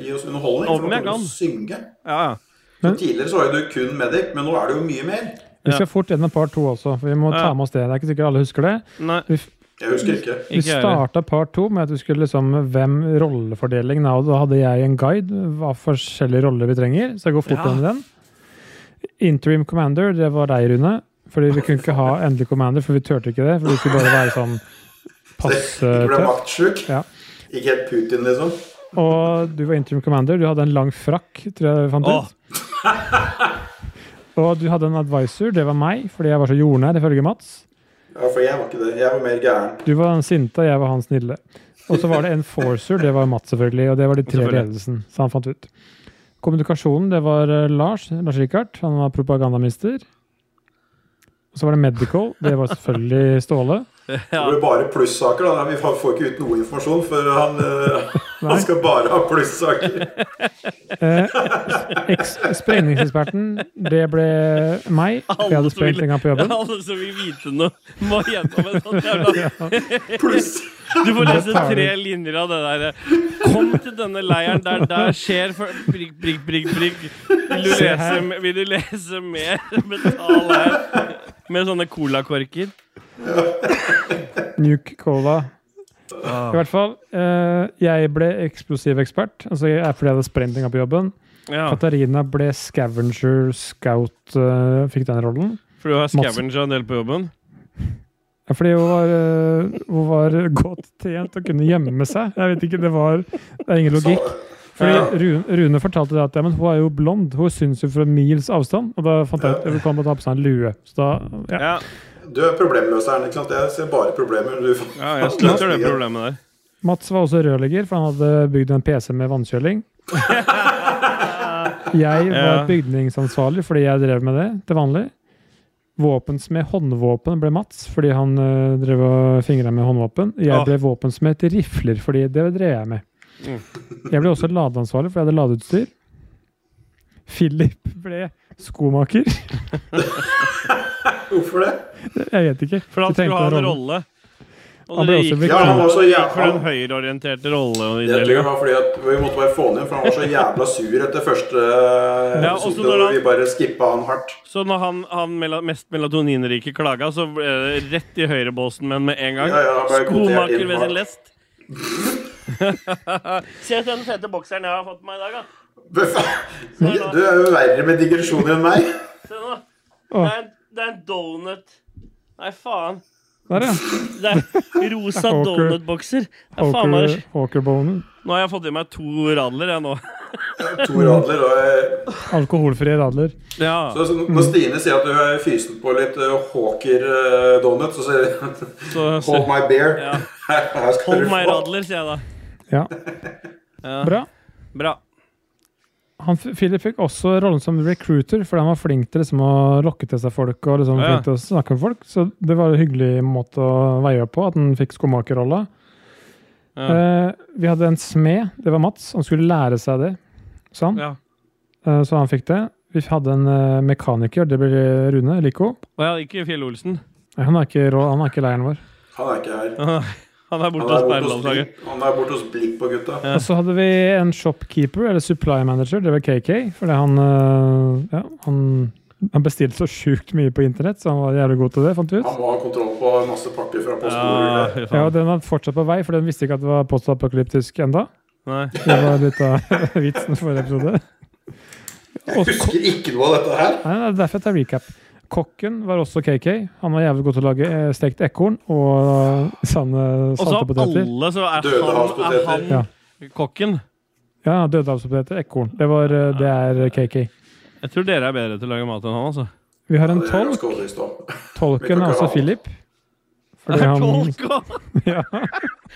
gi oss underholdning. Om For nå jeg kan kan. du synge. Ja, ja. Så tidligere så var jo du kun Medic, men nå er det jo mye mer. Vi skal fort gjennom par to også, for vi må Ja. ta med oss det. Det er ikke sikkert alle husker det. Nei, Vi, f- Jeg husker ikke. vi ikke jeg heller. starta par to med at vi skulle liksom hvem rollefordelingen er, og da hadde jeg en guide hva forskjellige roller vi trenger, så jeg går fort Ja. gjennom den. Interim commander, det var deg, Rune. Fordi vi kunne ikke ha endelig commander, for vi turte ikke det. For vi skulle bare være sånn passe Ikke ble tøff. maktsjuk. Ja. Ikke helt Putin, liksom. Og du var interim commander. Du hadde en lang frakk, tror jeg vi fant Åh. ut. Og du hadde en advisor, det var meg, fordi jeg var så jordnær, ifølge Mats. Ja, for jeg var ikke det. Jeg var mer gæren. Du var den sinte, jeg var han snille. Og så var det enforcer, det var Mats selvfølgelig, og det var de tre i Selvfølgelig. ledelsen, så han fant ut. Kommunikasjonen, det var eh, Lars, Lars Rikard, han var propagandamister. Og så var det medical, det var selvfølgelig Ståle. Det ble bare plussaker. da. Vi får ikke ut noe informasjon, for han, eh, Nei. han skal bare ha plussaker. Eh, eks- Sprengningseksperten, det ble meg, for jeg Alle hadde som vil- sprengt en gang på jobben. Alle som vil vite noe, må gjennom en sånn jævla Pluss. Du får lese tar vi. tre linjer av det derre. Kom til denne leiren der der skjer for Prikk, prikk, prikk, prikk. Vil du Se lese, her. me- vil du lese mer metal her? Med sånne colakorker? Nuke Cola. I hvert fall, eh, jeg ble eksplosiv ekspert, altså jeg er fordi jeg hadde sprengt en gang på jobben. Ja, Katarina ble scavenger, scout, eh, fikk den rollen. for du har scavenger en del på jobben? Ja, Fordi hun var, eh, hun var godt trent og kunne gjemme seg. Jeg vet ikke, Det var Det er ingen logikk. Ja. Fordi Rune, Rune fortalte det at ja, men hun er jo blond, hun syns jo fra mils avstand. Og da fant jeg ut at hun må ta på seg en lue. Så da, ja. Ja, Du er problemløseren, ikke sant? Jeg ser bare problemer. Du ja jeg støtter det problemet der. Mats var også rørlegger, for han hadde bygd en PC med vannkjøling. Jeg var Ja. bygningsansvarlig fordi jeg drev med det til vanlig. Våpensmed håndvåpen ble Mats fordi han eh, drev og fingra med håndvåpen. Jeg Åh. ble våpensmed til rifler fordi det drev jeg med. Jeg ble også ladeansvarlig fordi jeg hadde ladeutstyr. Philip ble skomaker. Hvorfor det? Jeg vet ikke. For han Vi trengte skulle ha en en rolle. rolle. Han Og ble dere også gikk vikar. Ja, han var så for- jævla- for den høyreorienterte Jeg tror det rollen. var fordi at Vi måtte bare få han inn, for han var så jævla sur etter første eh, Ja, også episode. når hvor han- Vi bare skippa han hardt. Så når han, han mela- mest melatoninrike klaga, så ble det rett i høyrebåsen, men med en gang. Ja, ja, han ble kvotert Skomaker inn ved sin hardt. lest. Se til den fete bokseren jeg har fått på meg i dag, da. Du er jo verre med digresjoner enn meg. Se nå. Åh. Det er, en, det er en donut. Nei, faen. Der, ja. Det er rosa Poker. donutbokser. Det er faen meg Hawker- Hawkerbonen. Nå har jeg fått i meg to radler, jeg nå. Tor Adler og eh, Alkoholfrie radler. Ja. så, så, Når Stine sier at du er fysen på litt eh, Hawker eh, Donut, så sier hun Så, så, Hold my beer. Ja. Her skal hold du meg få. radler, sier jeg da. Ja. Bra. Bra. han, Philip fikk også rollen som recruiter, fordi han var flink til liksom, å lokke til seg folk og liksom, Ja. flink til å snakke med folk. Så det var en hyggelig måte å veie opp på, at han fikk skomakerrolla. Ja. Eh, vi hadde en smed, det var Mats, han skulle lære seg det. Sånn. Ja. Eh, så han fikk det. Vi hadde en eh, mekaniker, det ble Rune Liko. Og jeg ikke Fjell-Olsen. Nei, Han er ikke, rå, han er ikke leiren vår. Han er ikke her. Han er borte Han er hos borte hos Berglandslaget. Blipp- han er borte hos Blipp og gutta. Og så hadde vi en shopkeeper, eller supply manager, det var KK. Fordi han, eh, ja, han, han bestilte så sjukt mye på internett, så han var jævlig god til det, fant vi ut. Han må ha kontroll på masse pakker fra Ja, Postnord. Ja, fy og faen. den var fortsatt på vei, for den visste ikke at det var postapokalyptisk enda. Nei. Det var litt av vitsen for episode. Og Jeg ko- husker ikke noe av dette her. nei, nei, det er derfor jeg tar recap. Kokken var også KK. Han var jævlig god til å lage eh, stekt ekorn og sanne Og så salte av poteter. alle så er han, er Dødehavspoteter. han kokken. Ja, dødehavspoteter, ekorn. Det, var, eh, det er KK. Jeg tror dere er bedre til å lage mat enn han, altså. Vi har Ja, en det er tolk. ganske overbevist om. Tolken er også Philip. Fordi Er han, tolk, og- ja.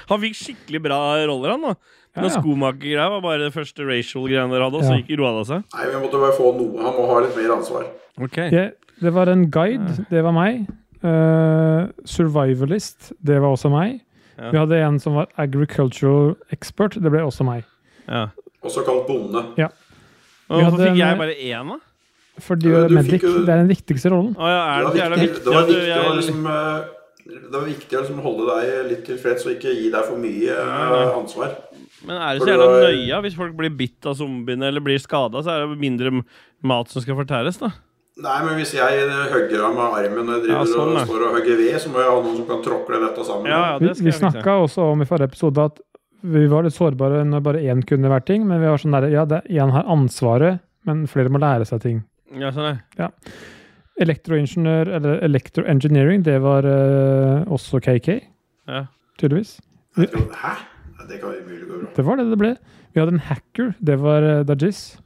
han fikk skikkelig bra roller, han. da Ja, Den ja. skomakergreia var bare det første racial-greiene dere hadde, og så Ja. gikk roa det seg. Nei, vi måtte bare få noe. Han må ha litt mer ansvar. Ok Jeg- Det var en Ah. guide, det var meg. Eh, survivalist, det var også meg. Ja. Vi hadde en som var agricultural expert, det ble også meg. ja. Også kalt bonde. Vi Hvorfor hadde fikk jeg en- eh, bare én, da? For du Ja, er du medic, fikk jo- det er den viktigste rollen. Å, ja, er Det det var så jævla viktig. viktig? Det var at du- viktig å jeg- liksom eh, det er viktig å liksom holde deg litt tilfreds og ikke gi deg for mye eh, ansvar. Men er det For så jævla det var- nøye? Hvis folk blir bitt av zombiene eller blir skada, så er det mindre m- mat som skal fortæres, da. Nei, men hvis jeg hogger av meg armen når jeg driver Ja, sånn, ja. og står og hogger ved, så må jeg ha noen som kan tråkle dette sammen. Ja, ja, Vi, det skal vi jeg fikse. snakka også om i forrige episode at vi var litt sårbare når bare én kunne hver ting, men vi var sånn der, ja, det én har ansvaret, men flere må lære seg ting. Ja, sånn er. Elektroingeniør, eller electroengineering, det var eh, også KK, Ja. tydeligvis. Jeg tror- Hæ? Nei, Det kan umulig gå bra. Det var det det ble. Vi hadde en hacker, det var eh, Dajis.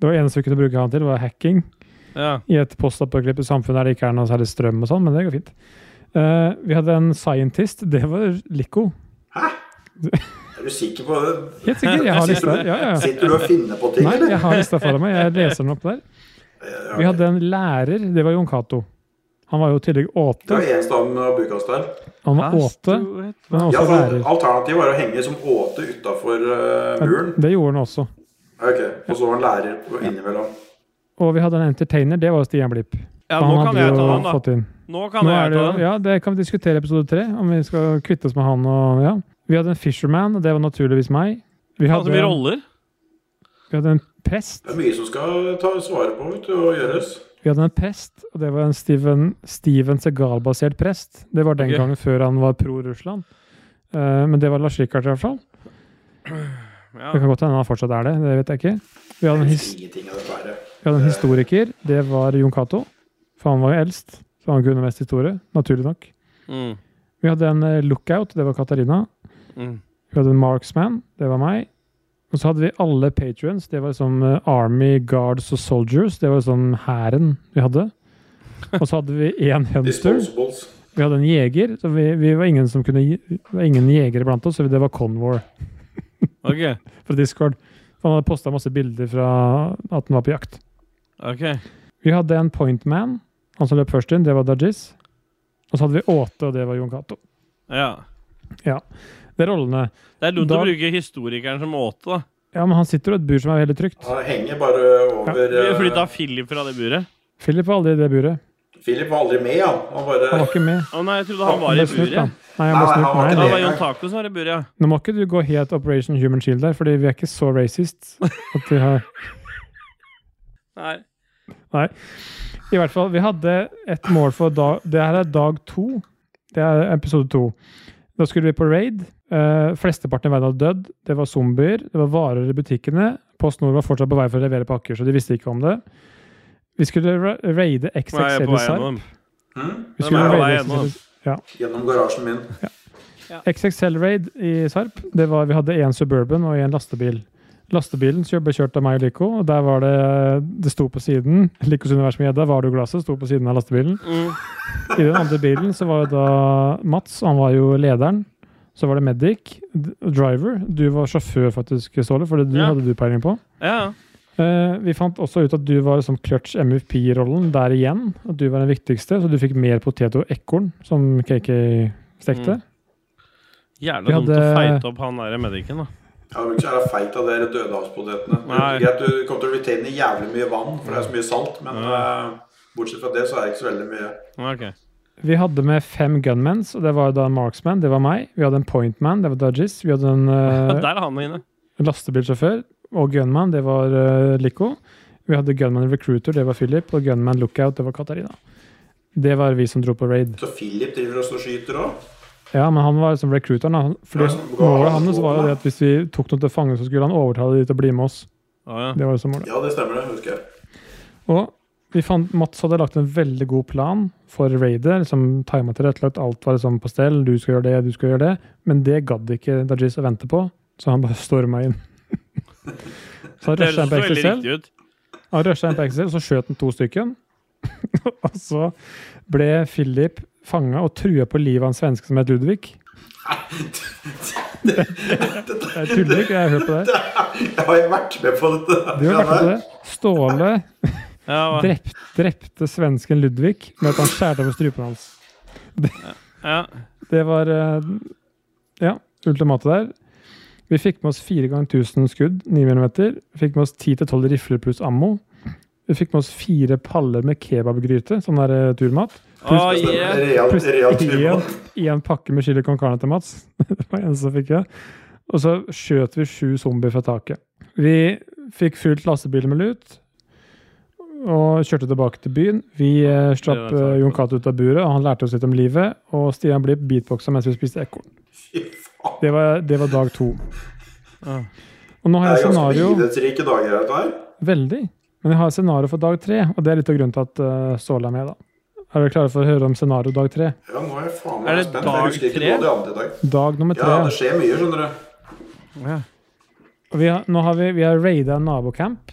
Det var eneste vi kunne bruke han til, var hacking. ja. i et postapokalyptisk samfunn der det ikke er noe særlig strøm og sånn, men det går fint. Eh, vi hadde en scientist, det var Lico. Er du sikker på det? Helt sikkert, jeg har lista. Ja, ja, ja. Sitter du og finner på ting, Nei, eller? jeg har lista foran meg, jeg leser den opp der. Ja, Vi hadde en lærer, det var Jon Cato. Han var jo i tillegg Det var åte. eneste han uh, Bukast der. Han var åte, men han var Ja, også for lærer. Alternativet var å henge som åte utafor muren. Det gjorde han også. Ok, Og så var han lærer på- innimellom. Og vi hadde en entertainer, det var Stian Blipp. ja, Han nå kan hadde jeg jo ta den, da. fått inn. Nå kan Nå er jeg det, ta jo- den. ja, det kan vi diskutere i episode tre, om vi skal kvitte oss med han og ja. Vi hadde en fisherman, og det var naturligvis meg. Vi Han hadde, som gir Altså, roller. vi hadde en prest. Det er mye som skal ta svare på vet du, og gjøres. Vi hadde en prest, og det var en Steven, Steven Segal-basert prest. Det var den Ok. gangen før han var pro-Russland. Eh, men det var Lars Rikard i hvert fall. Ja. Det kan godt hende han fortsatt er det. det vet jeg ikke. Vi hadde en, his Ingenting av det bare. vi hadde en historiker. Det var Jon Cato. For han var jo eldst, så han kunne mest historie. Naturlig nok. Mm. Vi hadde en eh, lookout. Det var Katarina. Mm. Vi hadde en marksman. Det var meg. Og så hadde vi alle patrions. Det var liksom eh, Army, Guards og Soldiers. Det var liksom hæren vi hadde. Og så hadde vi én hunter. Disposables. Vi hadde en jeger, så vi, vi var ingen som kunne gi- det var ingen jegere blant oss, så det var Convor Ok. fra Discord. For han hadde posta masse bilder fra at han var på jakt. ok. Vi hadde en pointman. Han som løp først inn, det var Dajis. Og så hadde vi Åte, og det var Jon Cato. Ja. Det er rollene. Det er dumt Da- å bruke historikeren som åte, da. Ja, men han sitter jo i et bur som er veldig trygt. Han henger bare over Vi har eh, flytta Philip fra det buret. Philip var aldri i det buret. Philip var aldri med, han. Han bare Han var ikke med. Å nei, jeg trodde han var Han i ble snutt, buret. da. Nei, han Nei, ble han snutt. var Ja, Nei, det nei. var Jon Taco som var i buret, ja. Nå må ikke du gå helt Operation Human Shield der, fordi vi er ikke så racist at vi har Nei. I hvert fall, vi hadde et mål for dag Det her er dag to. Det er episode to. Da skulle vi på raid. Eh, flesteparten i verden hadde dødd. Det var zombier. Det var varer i butikkene. Post Nord var fortsatt på vei for å levere pakker, så de visste ikke om det. Vi skulle ra- raide E Nå er jeg XXL i på vei Sarp. gjennom. hm? Vi Hvem skulle er på vei raide gjennom? XXL Ja. Gjennom garasjen min. XXL Raid i Sarp, det var, vi hadde én Suburban og én lastebil. Lastebilen kjør- ble kjørt av meg og Lico, og der var det Det sto på siden. Licos univers med gjedda, var det jo glasset, sto på siden av lastebilen. Mm. I den andre bilen så var jo da Mats, han var jo lederen. Så var det Medic, d- driver. Du var sjåfør, faktisk, Ståle, for det du Ja. hadde du peiling på. Ja, ja. Eh, vi fant også ut at du var som clutch MVP-rollen der igjen. At du var den viktigste, så du fikk mer potet og ekorn, som KK stekte. Jævla Vi dumt å hadde- feite opp han der medicen, da. Ja, men ikke er det feit av dere dødehavspotetene. Det Nei. er Greit, du kommer til å retain jævlig mye vann, for det er så mye salt. Men eh, bortsett fra det, så er det ikke så veldig mye. Ja, Eh, Ok. Vi hadde med fem gunmans, og det var da en marksman, det var meg. Vi hadde en pointman, det var Dudgies. Vi hadde en Ja, eh, der er han inne. lastebilsjåfør og gunman, det var eh, Lico. Vi hadde gunman recruiter, det var Philip, og gunman lookout, det var Katarina. Det var vi som dro på raid. Så Philip driver også og skyter òg? Ja, men han var liksom recruiteren. da. Han- Fordi Ja, så bra. målet hans var jo det at hvis vi tok noen til fange, så skulle han overtale de til å bli med oss. Å, ja. Det var liksom målet. Ja, det stemmer, det. husker jeg. Og vi fant, Mats hadde lagt en veldig god plan for raidet. liksom Tima tilrettelagt, alt var liksom på stell. Du skal gjøre det, du skal gjøre det. Men det gadd ikke Dajis å vente på, så han bare storma inn. så han Det høres rusha inn på så veldig XXL, riktig ut. han rushet inn på XXL, så skjøt han to stykken. og så ble Philip fanga og trua på livet av en svenske som het Ludvig. Det er tuller ikke, jeg har hørt på det. Jeg har jo vært med på dette. Du har vært med på det. Ståle Ja, hva- drept, drepte svensken Ludvig med at han skjærte over strupen hans. ja. Det var eh, ja, ultimatet der. Vi fikk med oss 4 ganger 1000 skudd, 9 mm. Fikk med oss 10-12 rifler pluss ammo. Vi fikk med oss fire paller med kebabgryte, sånn der eh, turmat. Oh, Det yeah. er Real, Pluss real én- turbo. én pakke med chili con carne til Mats. Det var eneste som fikk det. Og så skjøt vi sju zombier fra taket. Vi fikk fylt lastebilen med lut og kjørte tilbake til byen. Vi eh, slapp Det var eh, Jon Cato ut av buret, og han lærte oss litt om livet. Og Stian Blipp beatboxa mens vi spiste ekorn. Fy faen. Det var, det var dag to. Ah. Og nå Det har er jeg ganske scenario begivenhetsrike dager her, dette her. Veldig. Men jeg har et scenario for dag tre, og det er litt av grunnen til at eh, Ståle er med. da. Er dere klare for å høre om scenario dag tre? Ja, nå er jeg faen Er meg det spent. dag Jeg husker ikke tre? noe av det andre i dag. Dag nummer Ja, tre. det skjer mye, skjønner du. Og Vi har, nå har vi, vi har raida en nabocamp.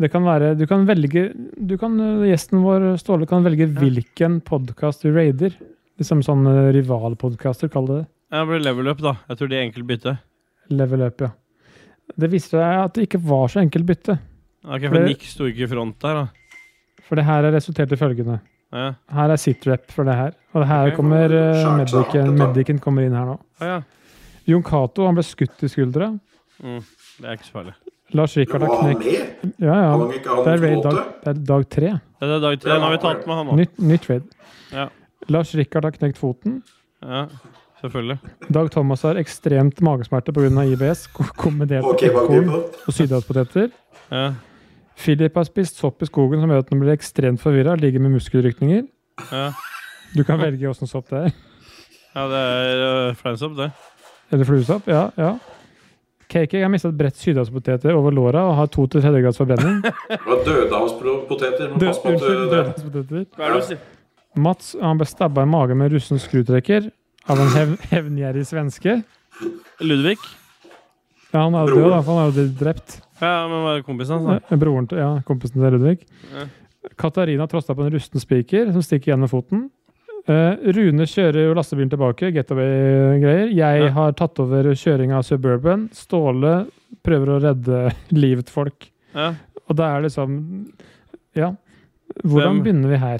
Det kan være, du kan velge du kan, øh, Gjesten vår, Ståle, kan velge hvilken podkast du raider. Liksom sånn øh, rivalpodkaster, kall det det. Jeg blir level up, da. Jeg tror de er enkelt bytte. Level up, ja. Det viste seg at det ikke var så enkelt bytte. Ok, Det- For Nick sto ikke i front der, da. For det her er resultert i følgende. Ja. Her er sitrep for det her. Og det her Ok. kommer øh, Skjært seg hardt, medicen, dette. medicen kommer inn her nå. Ah, ja. Jon Cato han ble skutt i skuldra. Mm. Det er ikke så farlig. Lars Du Rikard må har ha han knekt med. Ja, Han ja. kan ikke ha Det er, noen raid dag, måte. det er dag tre. Ja, Det er dag tre. Nå har vi tatt med han nå. Nytt, nytt raid. Ja. Lars Rikard har knekt foten. Ja, selvfølgelig. Dag Thomas har ekstremt magesmerter pga. IBS, ko- kombinert Og med korn kebabgrype. og sydhavspoteter. Ja. Philip har spist sopp i skogen som gjør at han blir ekstremt forvirra. Ligger med muskelrykninger. Ja. Du kan velge åssen sopp det er. ja, det er uh, fleinsopp, det. Eller fluesopp. Ja, ja. Cakey har mista et bredt sydhavspoteter over låra og har to til tredje grads forbrenning. Det var dødehavspoteter. Død- Pass på at unnskyld, du det. dødehavspoteter. Hva er det du sier? Mats han ble stabba i magen med en russen skrutrekker av en hev hevngjerrig svenske. Ludvig? Ja, han er jo Broren. død, da, for han er jo blitt drept. Ja, men hva er kompisen hans, da? Ja, Broren til, ja, kompisen til Ludvig. Ja. Katarina trosta på en rusten spiker som stikker gjennom foten. Eh, Rune kjører jo lastebilen tilbake, getaway-greier. Jeg Ja. har tatt over kjøring av Suburban. Ståle prøver å redde livet til folk. Ja. Og det er liksom Ja. Hvordan Hvem- begynner vi her?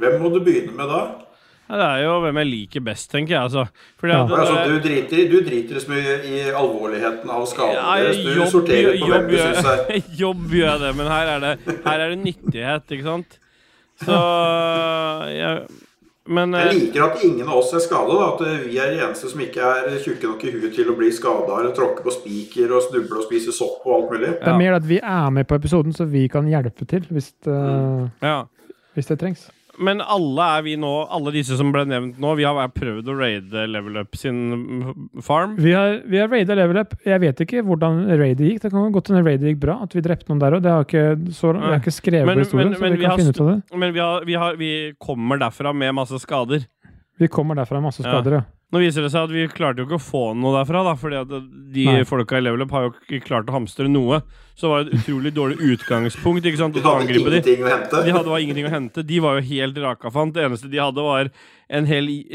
Hvem må du begynne med da? Ja, det er jo hvem jeg liker best, tenker jeg. Altså. Fordi Ja. at, Altså, det- du driter, du driter så mye i alvorligheten av skaden Ja, deres. Du jobb, sorterer på hvem jobb, du syns er gjør- jobb gjør jeg det, men her er det, her er det nyttighet, ikke sant? Så øh, jeg, Men Jeg eh, liker at ingen av oss er skada. At eh, vi er de eneste som ikke er tjukke nok i huet til å bli skada eller tråkke på spiker og snuble og spise sopp og alt mulig. Det er mer at vi er med på episoden, så vi kan hjelpe til hvis det, ja. hvis det trengs. Men alle er vi nå Alle disse som ble nevnt nå, vi har vært- prøvd å raide Level Up sin farm. Vi har, vi har raida level up. Jeg vet ikke hvordan raidet gikk. Det kan godt hende raidet gikk bra, at vi drepte noen der òg. Det har ikke, så, jeg har ikke skrevet Men- på historien, men- så men vi vi kan har finne ut st- av det. Men vi, har, vi, har, vi kommer derfra med masse skader. Vi kommer derfra med masse Ja. skader, ja. Nå viser det seg at vi klarte jo ikke å få noe derfra, da, fordi at de Nei. folka i Level Up har jo ikke klart å hamstre noe. Så det var et utrolig dårlig utgangspunkt ikke sant, Du å ta hadde angripe de. ingenting å hente. De hadde var ingenting å hente. De var jo helt rakafant. Det eneste de hadde, var en hel i-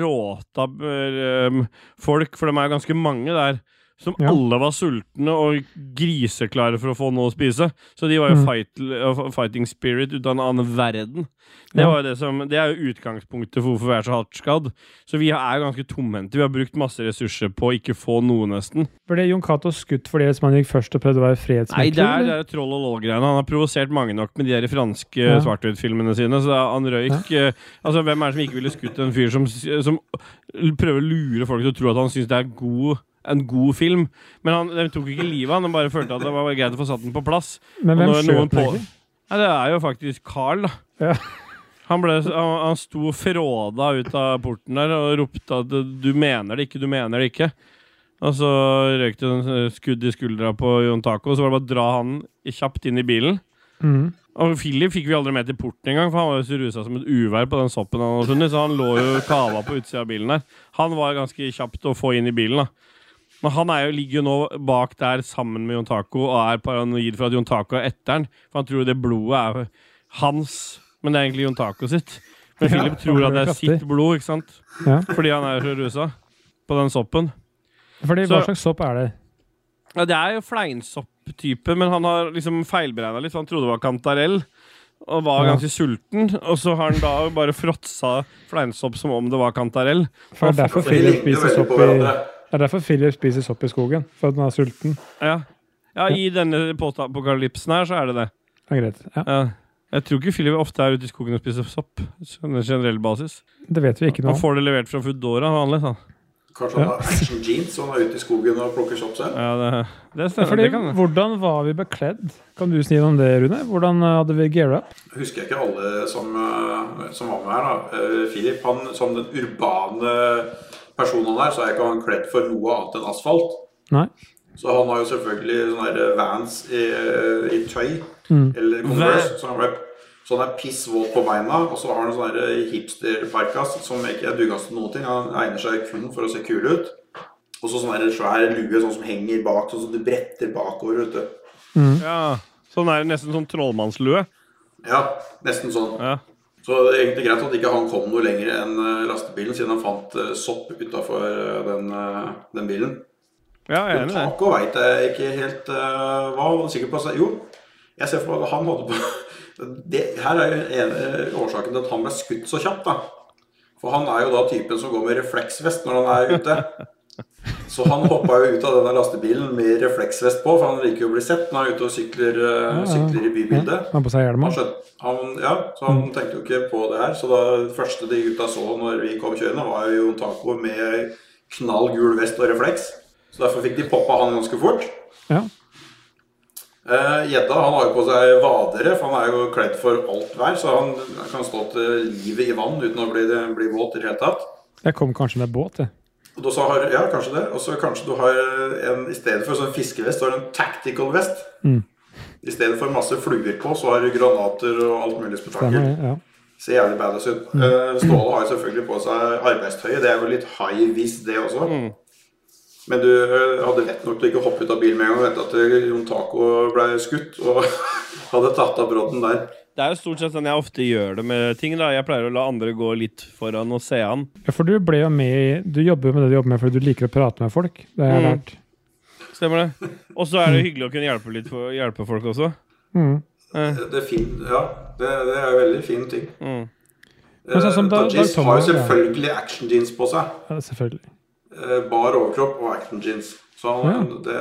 bråta um, folk, for de er jo ganske mange der, som Ja. alle var sultne og griseklare for å få noe å spise. Så de var jo Mm. fight, uh, fighting spirit ut av en annen verden. Det, Ja. var jo det, som, det er jo utgangspunktet for hvorfor vi er så hardt skadd. Så vi er jo ganske tomhendte. Vi har brukt masse ressurser på å ikke få noe, nesten. Ble Jon Cato skutt fordi liksom han gikk først og prøvde å være Nei, fredsmekler? det er, det eller? er troll og lol-greiene. Han har provosert mange nok med de der franske Ja. svart-hvitt-filmene sine. Så han røyk eh, Altså, hvem er det som ikke ville skutt en fyr som, som prøver å lure folk til å tro at han syns det er god en god film, men han, de tok ikke livet av han. De bare følte at det var greit å få satt den på plass. Men hvem Og når skjøt noen den på- egentlig? Nei, det er jo faktisk Carl, da. Ja. Han, ble, han, han sto fråda ut av porten der og ropte at 'du mener det ikke, du mener det ikke'. Og så røyk det en eh, skudd i skuldra på Jon Taco, og så var det bare å dra han kjapt inn i bilen. Mm. Og Philip fikk vi aldri med til porten engang, for han var jo så rusa som et uvær på den soppen han hadde funnet, så han lå jo kava på utsida av bilen der. Han var ganske kjapt å få inn i bilen, da. Men han er jo, ligger jo nå bak der sammen med Jon Taco og er paranoid for at Jon Taco er etter han, for han tror det blodet er hans, men det er egentlig Jon Taco sitt. Men Ja, Philip tror at det er kraftig. sitt blod, ikke sant? Ja. Fordi han er jo så rusa på den soppen. Fordi Så- hva slags sopp er det? Ja, det er jo fleinsopp-type, men han har liksom feilberegna litt, for han trodde det var kantarell. Og var Ja. ganske sulten, og så har han da bare fråtsa fleinsopp som om det var kantarell. For det er derfor For de Philip ligner spiser veldig sopp på i hverandre. det er derfor Philip spiser sopp i skogen, for at han er sulten. Ja, ja i denne postapokalypsen her, så er det det. Det er greit. Ja, Ja. Jeg tror ikke Philip ofte er ute i skogen og spiser sopp. På en generell basis. det vet vi ikke nå. Han får det levert fra Foodora vanligvis. han. liksom. Kanskje han har action jeans og han er ute i skogen og plukker sopp selv? Ja, det, det Ja, stemmer. Fordi, det kan det. hvordan var vi bekledd? Kan du sni om det, Rune? Hvordan eh, hadde vi gear up? husker jeg ikke alle som, eh, som var med her. da. Eh, Philip, han, som den urbane personen han er, så er ikke han kledd for noe annet enn asfalt. Nei. Så han har jo selvfølgelig sånne der vans i, eh, i tøy, eller Converse, så han, ble, så han er pissvåt på beina. Og så har han sånne der eh, hipsterparkas som ikke er dugas til noen ting. Han egner seg kun for å se kul ut. Og så sånn der svær lue sånn som henger bak, sånn som du bretter bakover. Vet du. Ja. Sånn er det nesten som trollmannslue. Ja, nesten sånn. Ja. Så det er egentlig greit at ikke han kom noe lenger enn eh, lastebilen, siden han fant eh, sopp utafor den, eh, den bilen. Ja, jeg er enig i det. Taco veit jeg ikke helt eh, hva han var sikker på. seg. Jo, jeg ser for meg at han hadde på det, Her er jo en, eh, årsaken til at han ble skutt så kjapt, da. For han er jo da typen som går med refleksvest når han er ute. Så han hoppa jo ut av denne lastebilen med refleksvest på, for han liker jo å bli sett når han er ute og sykler, Ja, eh, ja. sykler i Ja, bybildet. Han har på seg hjelm. Han også. skjønte, han, ja, så han Mm. tenkte jo ikke på det her. Så da, det første de gutta så når vi kom kjørende, var jo Jon Taco med knall gul vest og refleks. Så derfor fikk de poppa han ganske fort. Ja. Eh, Gjedda han har jo på seg vadere, for han er jo kledd for alt vær. Så han kan stå til livet i vann uten å bli, bli våt i det hele tatt. Jeg kom kanskje med båt, jeg. Og da så har, ja, kanskje det. Og så kanskje du har en I stedet for sånn fiskevest, så har du en tactical vest. Mm. I stedet for masse fluer på, så har du granater og alt mulig spetakkel. Stemmer det. Ja. Ser jævlig badass ut. Mm. Eh, Ståle har jo selvfølgelig på seg arbeidstøyet. Det er jo litt high vis, det også. Mm. Men du eh, hadde rett nok til å ikke hoppe ut av bilen med en gang og vente at eh, Jon Taco ble skutt og hadde tatt av brodden der. Det er jo stort sett sånn jeg ofte gjør det med ting. da Jeg pleier å la andre gå litt foran og se an. ja, for du ble jo med i Du jobber jo med det du jobber med fordi du liker å prate med folk. Det har jeg Mm. lært. Stemmer det? Og så er det hyggelig å kunne hjelpe, litt for, hjelpe folk også. Mm. Det, det, er fin, ja, det, det er en veldig fin ting. Mm. Eh, sånn som da- Dajis da Tom- har jo selvfølgelig action jeans på seg. Ja, selvfølgelig. Eh, Bar overkropp og action jeans. Så han, det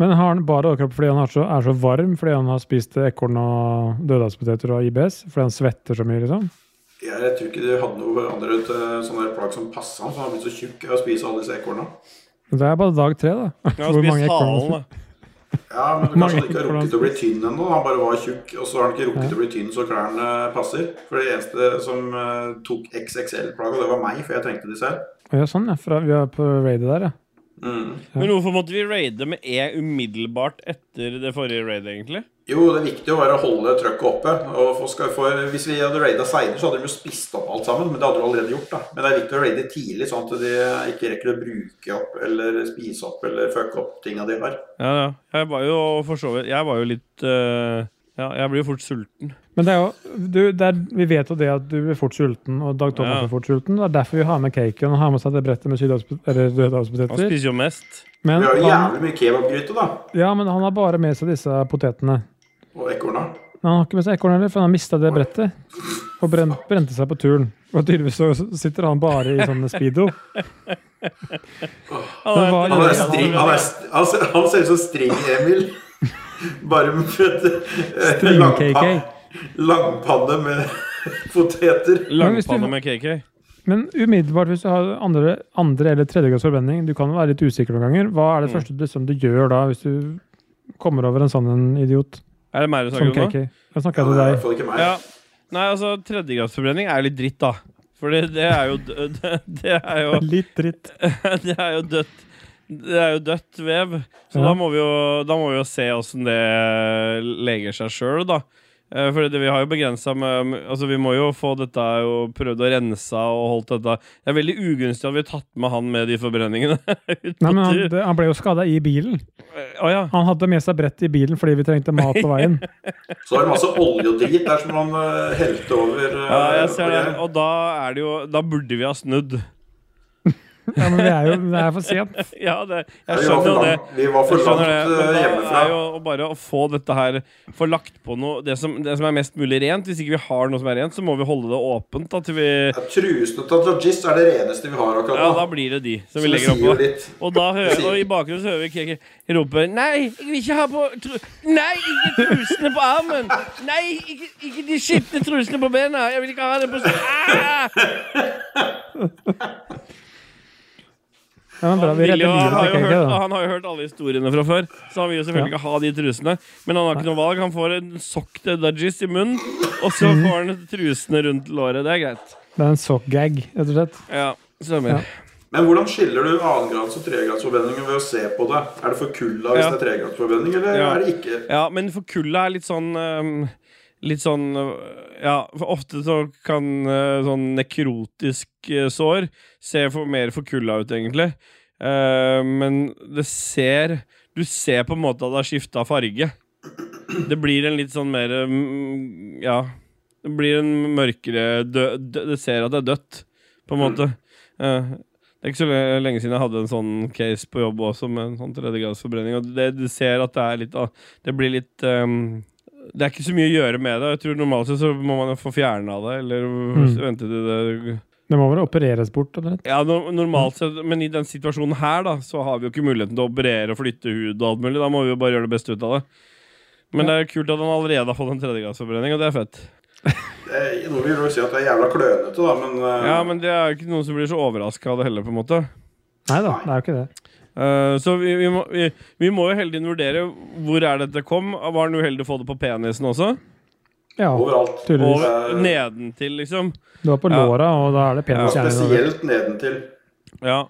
Men har han bare overkropp fordi han er så, er så varm? Fordi han har spist ekorn og døddagspoteter og IBS? Fordi han svetter så mye, liksom? jeg, jeg tror ikke de hadde noe andre til sånne der plagg som passa han, for han har blitt så tjukk av å spise alle disse ekorna. Men Det er bare dag tre, da. Jeg har spist halen, da. Ja, men kanskje han ikke har Mange- rukket å bli tynn ennå. Han bare var tjukk, og så har han ikke rukket å bli tynn så klærne passer. For det eneste som eh, tok XXL-plagg, det var meg, for jeg trengte disse her. Ja, sånn, ja. Fra, vi er på raidet der, ja. Mm. Men hvorfor måtte vi raide med E umiddelbart etter det forrige raidet, egentlig? Jo, det viktige var å holde trøkket oppe. Og for, skal- for hvis vi hadde raida seinere, så hadde de jo spist opp alt sammen. Men det hadde de allerede gjort, da. Men det er viktig å raide tidlig, sånn at de ikke rekker å bruke opp eller spise opp eller fucke opp tinga de har. Ja, ja. Jeg var jo for så vidt Jeg var jo litt eh, Ja, jeg blir jo fort sulten. Men det er jo, du, det er, vi vet jo det at du blir fort sulten, og Dag Thomas Ja. blir fort sulten. Det er derfor vi har med caken og har med seg det brettet med sydhavspo- eller Han dødhavspoteter. spiser jo mest. Men, Vi har jo han- jævlig mye kebabgryte, da. ja, men han har bare med seg disse potetene. Og ekorna. Men han har ikke med seg ekorn heller, for han har mista det brettet. Og bren- brente seg på turen. Og tydeligvis så sitter han bare i sånn speedo. Han var- Han, er er- Ja, string, han, er, st- han, ser, han ser ut som String-Emil. Bare med eh, String-KK. langpa- Langpanne med poteter. Langpanne med KK. Men umiddelbart, hvis du har andre, andre eller tredjegrads forbrenning, du kan jo være litt usikker noen ganger, hva Mm. er det første du, liksom, du gjør da, hvis du kommer over en sånn en idiot Er det meg du som snakker om nå? KK? Jeg snakker Ja, til det er i deg. hvert fall ikke meg. Ja. Nei, altså, tredjegradsforbrenning er jo litt dritt, da. For det, det er jo dø- det, det er jo Litt dritt. Det er jo dødt. Det er jo dødt vev. Så Ja. da, må vi jo, da må vi jo se åssen det leger seg sjøl, da. Eh, For det, vi har jo begrensa med med- Altså, vi må jo få dette og prøvd å rense og holdt dette Det er veldig ugunstig at vi har tatt med han med de forbrenningene. ut Nei, på men han, tur. det, han ble jo skada i bilen. Å ja. Han hadde med seg brett i bilen fordi vi trengte mat på veien. Så er det masse olje og drit der som han eh, helte over. eh, ja. Jeg ser og det. jeg- Og da er det jo Da burde vi ha snudd. Ja, men det er jo det er for sent. Ja, det, jeg Vi var skjønner for jo det. langt, vi var Jeg for langt skjønner det, eh, men da hjemmefra. er jo å bare å få dette her Få lagt på noe det som, det som er mest mulig rent. Hvis ikke vi har noe som er rent, så må vi holde det åpent da, til vi Ja, Trusene til Dajis er det reneste vi har akkurat Ja, da nå. blir det de som Så vi det legger sier jo opp på. litt. Og, da hører, sier- og i bakgrunnen så hører vi Keke rope Nei, jeg vil ikke ha på tru Nei, ikke trusene på armen! Nei, ikke, ikke de skitne trusene på bena! Jeg vil ikke ha det på ah! Ja, men bra, han, vi vil jo, redder han, livet har til jo Keke, hørt, da. han har jo hørt alle historiene fra før, så han vil jo selvfølgelig Ja. ikke ha de trusene. Men han har ikke noe valg. Han får en sokk til Dudgies i munnen, og så Mhm. får han trusene rundt låret. Det er greit. Det er en sockgag, rett og slett. Ja, stemmer. Ja. Men hvordan skiller du annengrads- og tregradsforbrenninger ved å se på det? Er det for kulda hvis Ja. det er tregradsforbrenning, eller Ja. er det ikke? Ja, men for kulda er litt sånn ehm, Litt sånn øh, Ja, for ofte så kan øh, sånn nekrotisk øh, sår se for, mer for kulda ut, egentlig. Eh, men det ser Du ser på en måte at det har skifta farge. Det blir en litt sånn mer mm, Ja. Det blir en mørkere dø, dø, Det ser at det er dødt, på en måte. Eh, det er ikke så le- lenge siden jeg hadde en sånn case på jobb også, med en sånn tredjegradsforbrenning. Og det, du ser at det er litt av det blir litt ehm, Det er ikke så mye å gjøre med det. Jeg tror Normalt sett så må man jo få fjerna det, eller Mm. vente til det Det må vel opereres bort? rett og slett. Ja, no, normalt sett, Men i den situasjonen her, da, så har vi jo ikke muligheten til å operere og flytte hud og alt mulig. Da må vi jo bare gjøre det beste ut av det. Men det er jo kult at han allerede har fått en tredjegradsforbrenning, og det er fett. Det er, noen vil jo si at det er jævla klønete, da, men, eh, Ja, men det er jo ikke noen som blir så overraska av det heller, på en måte. Nei da, det er jo ikke det. Eh, så vi, vi, må, vi, vi må jo hele tiden vurdere hvor er dette kom. Var han uheldig å få det på penisen også? Ja, overalt. tydeligvis. Og nedentil, liksom. Du var på Ja. låra, og da er det Ja, penis gjerne involvert. spesielt nedentil. Ja.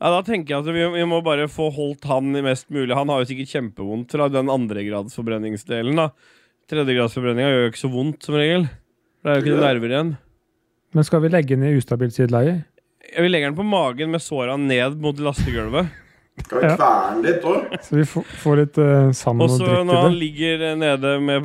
ja, da tenker jeg at vi, vi må bare få holdt han i mest mulig. Han har jo sikkert kjempevondt fra den andregradsforbrenningsdelen, da. Tredjegradsforbrenninga gjør jo ikke så vondt, som regel. Det er jo ikke nerver igjen. Men skal vi legge den i ustabilt sideleie? Jeg vil legge den på magen med såra ned mot lastegulvet. Skal vi Ja. kverne den litt òg? Så vi får, får litt eh, sand Og og så drikk når han til det? ligger nede med,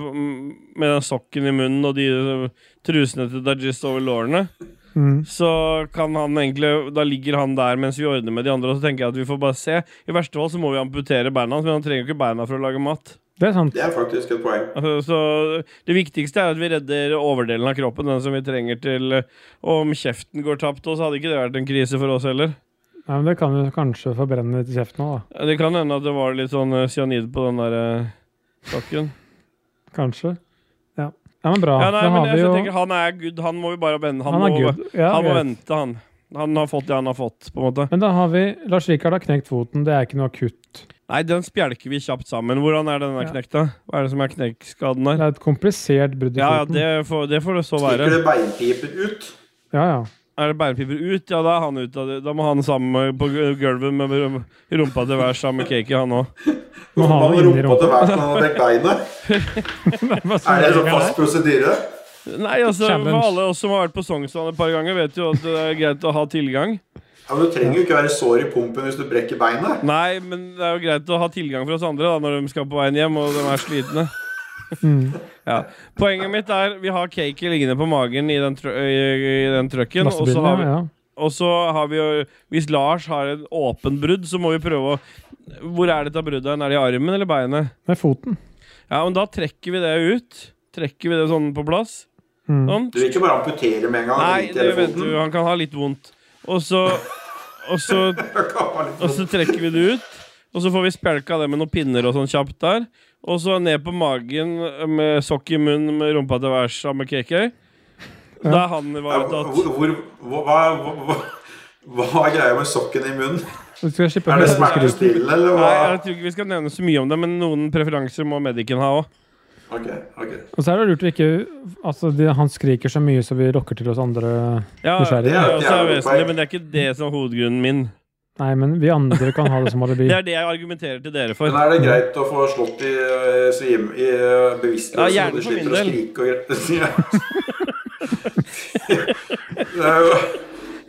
med den sokken i munnen og de øh, trusene til Dajist over lårene, Mm. så kan han egentlig Da ligger han der mens vi ordner med de andre, og så tenker jeg at vi får bare se. I verste fall så må vi amputere beina hans, men han trenger jo ikke beina for å lage mat. Det er sant. Det er faktisk et poeng. Altså, så det viktigste er at vi redder overdelen av kroppen, den som vi trenger til eh, Om kjeften går tapt også, hadde ikke det vært en krise for oss heller. Nei, men det kan jo kanskje forbrenne litt i kjeften òg, da. Det kan hende at det var litt sånn eh, cyanid på den der eh, sokken. Kanskje. Ja, ja men bra. Ja, nei, da men har jeg, vi så jo tenker, jeg, han er good. Han må vi bare vende. Han, Han er må, good. Ja, han må greit. vente, han. Han har fått det han har fått, på en måte. Men da har vi Lars Rikard har knekt foten. Det er ikke noe akutt. Nei, den spjelker vi kjapt sammen. Hvordan er den der Ja. knekta? Hva er det som er knekkskaden Det der? er et komplisert brudd i Ja, ja, foten. det får det, får det så være. Stikker det beinpiper ut? Ja, ja. Er det beinpiper ut, ja, da er han ute av det. Da må han sammen på gu- gulvet med rum- rumpa til hver sammen med cake, han òg. Må Må ha man noe inni rumpa til rumpa. hver som har brekt beinet? Hva som Er det en sånn ligger der? fast prosedyre? Nei, altså, Challenge. for alle oss som har vært på Sognsvann et par ganger, vet jo at det er greit å ha tilgang. Ja, men Du trenger jo ikke være sår i pumpen hvis du brekker beinet. Nei, men det er jo greit å ha tilgang for oss andre da, når de skal på veien hjem og de er slitne. Mm. Ja. Poenget mitt er vi har cake liggende på magen i den, tr i, i den trucken. Og så Lastebilen, har vi, ja. Og så har vi jo Hvis Lars har et åpen brudd, så må vi prøve å Hvor er dette bruddet? hen? Er det i armen eller beinet? Med foten. Ja, men da trekker vi det ut. Trekker vi det sånn på plass. Mm. Sånn. Du vil ikke bare amputere med en gang? Nei, rett i det hele vet foten? du, han kan ha litt vondt. Og så Og så og så trekker vi det ut. Og så får vi spjelka det med noen pinner og sånn kjapt der. Og så ned på magen eh, med sokk i munnen med rumpa til værs sammen med KK. Da er han ivaretatt. Hvor, hvor, hvor, hva, hva, hva hva er greia med sokken i munnen? Så skal jeg slippe å Er det høre på skryt. smertestillende, eller hva? Nei, jeg tror ikke vi skal nevne så mye om det, men noen preferanser må medicen ha òg. Ok, ok. Og så er det lurt å ikke Altså, de, han skriker så mye, så vi rokker til oss andre Ja, Nysgjerrig. det er Det også er et vesentlig, poeng. men det er ikke det som er hovedgrunnen min. Nei, men vi andre kan ha det som alibi. Det er det jeg argumenterer til dere for. Men er det greit å få slått i, eh, svim, i eh, bevisstløse? Ja, gjerne så de for min slipper å del. skrike og gre- det er jo,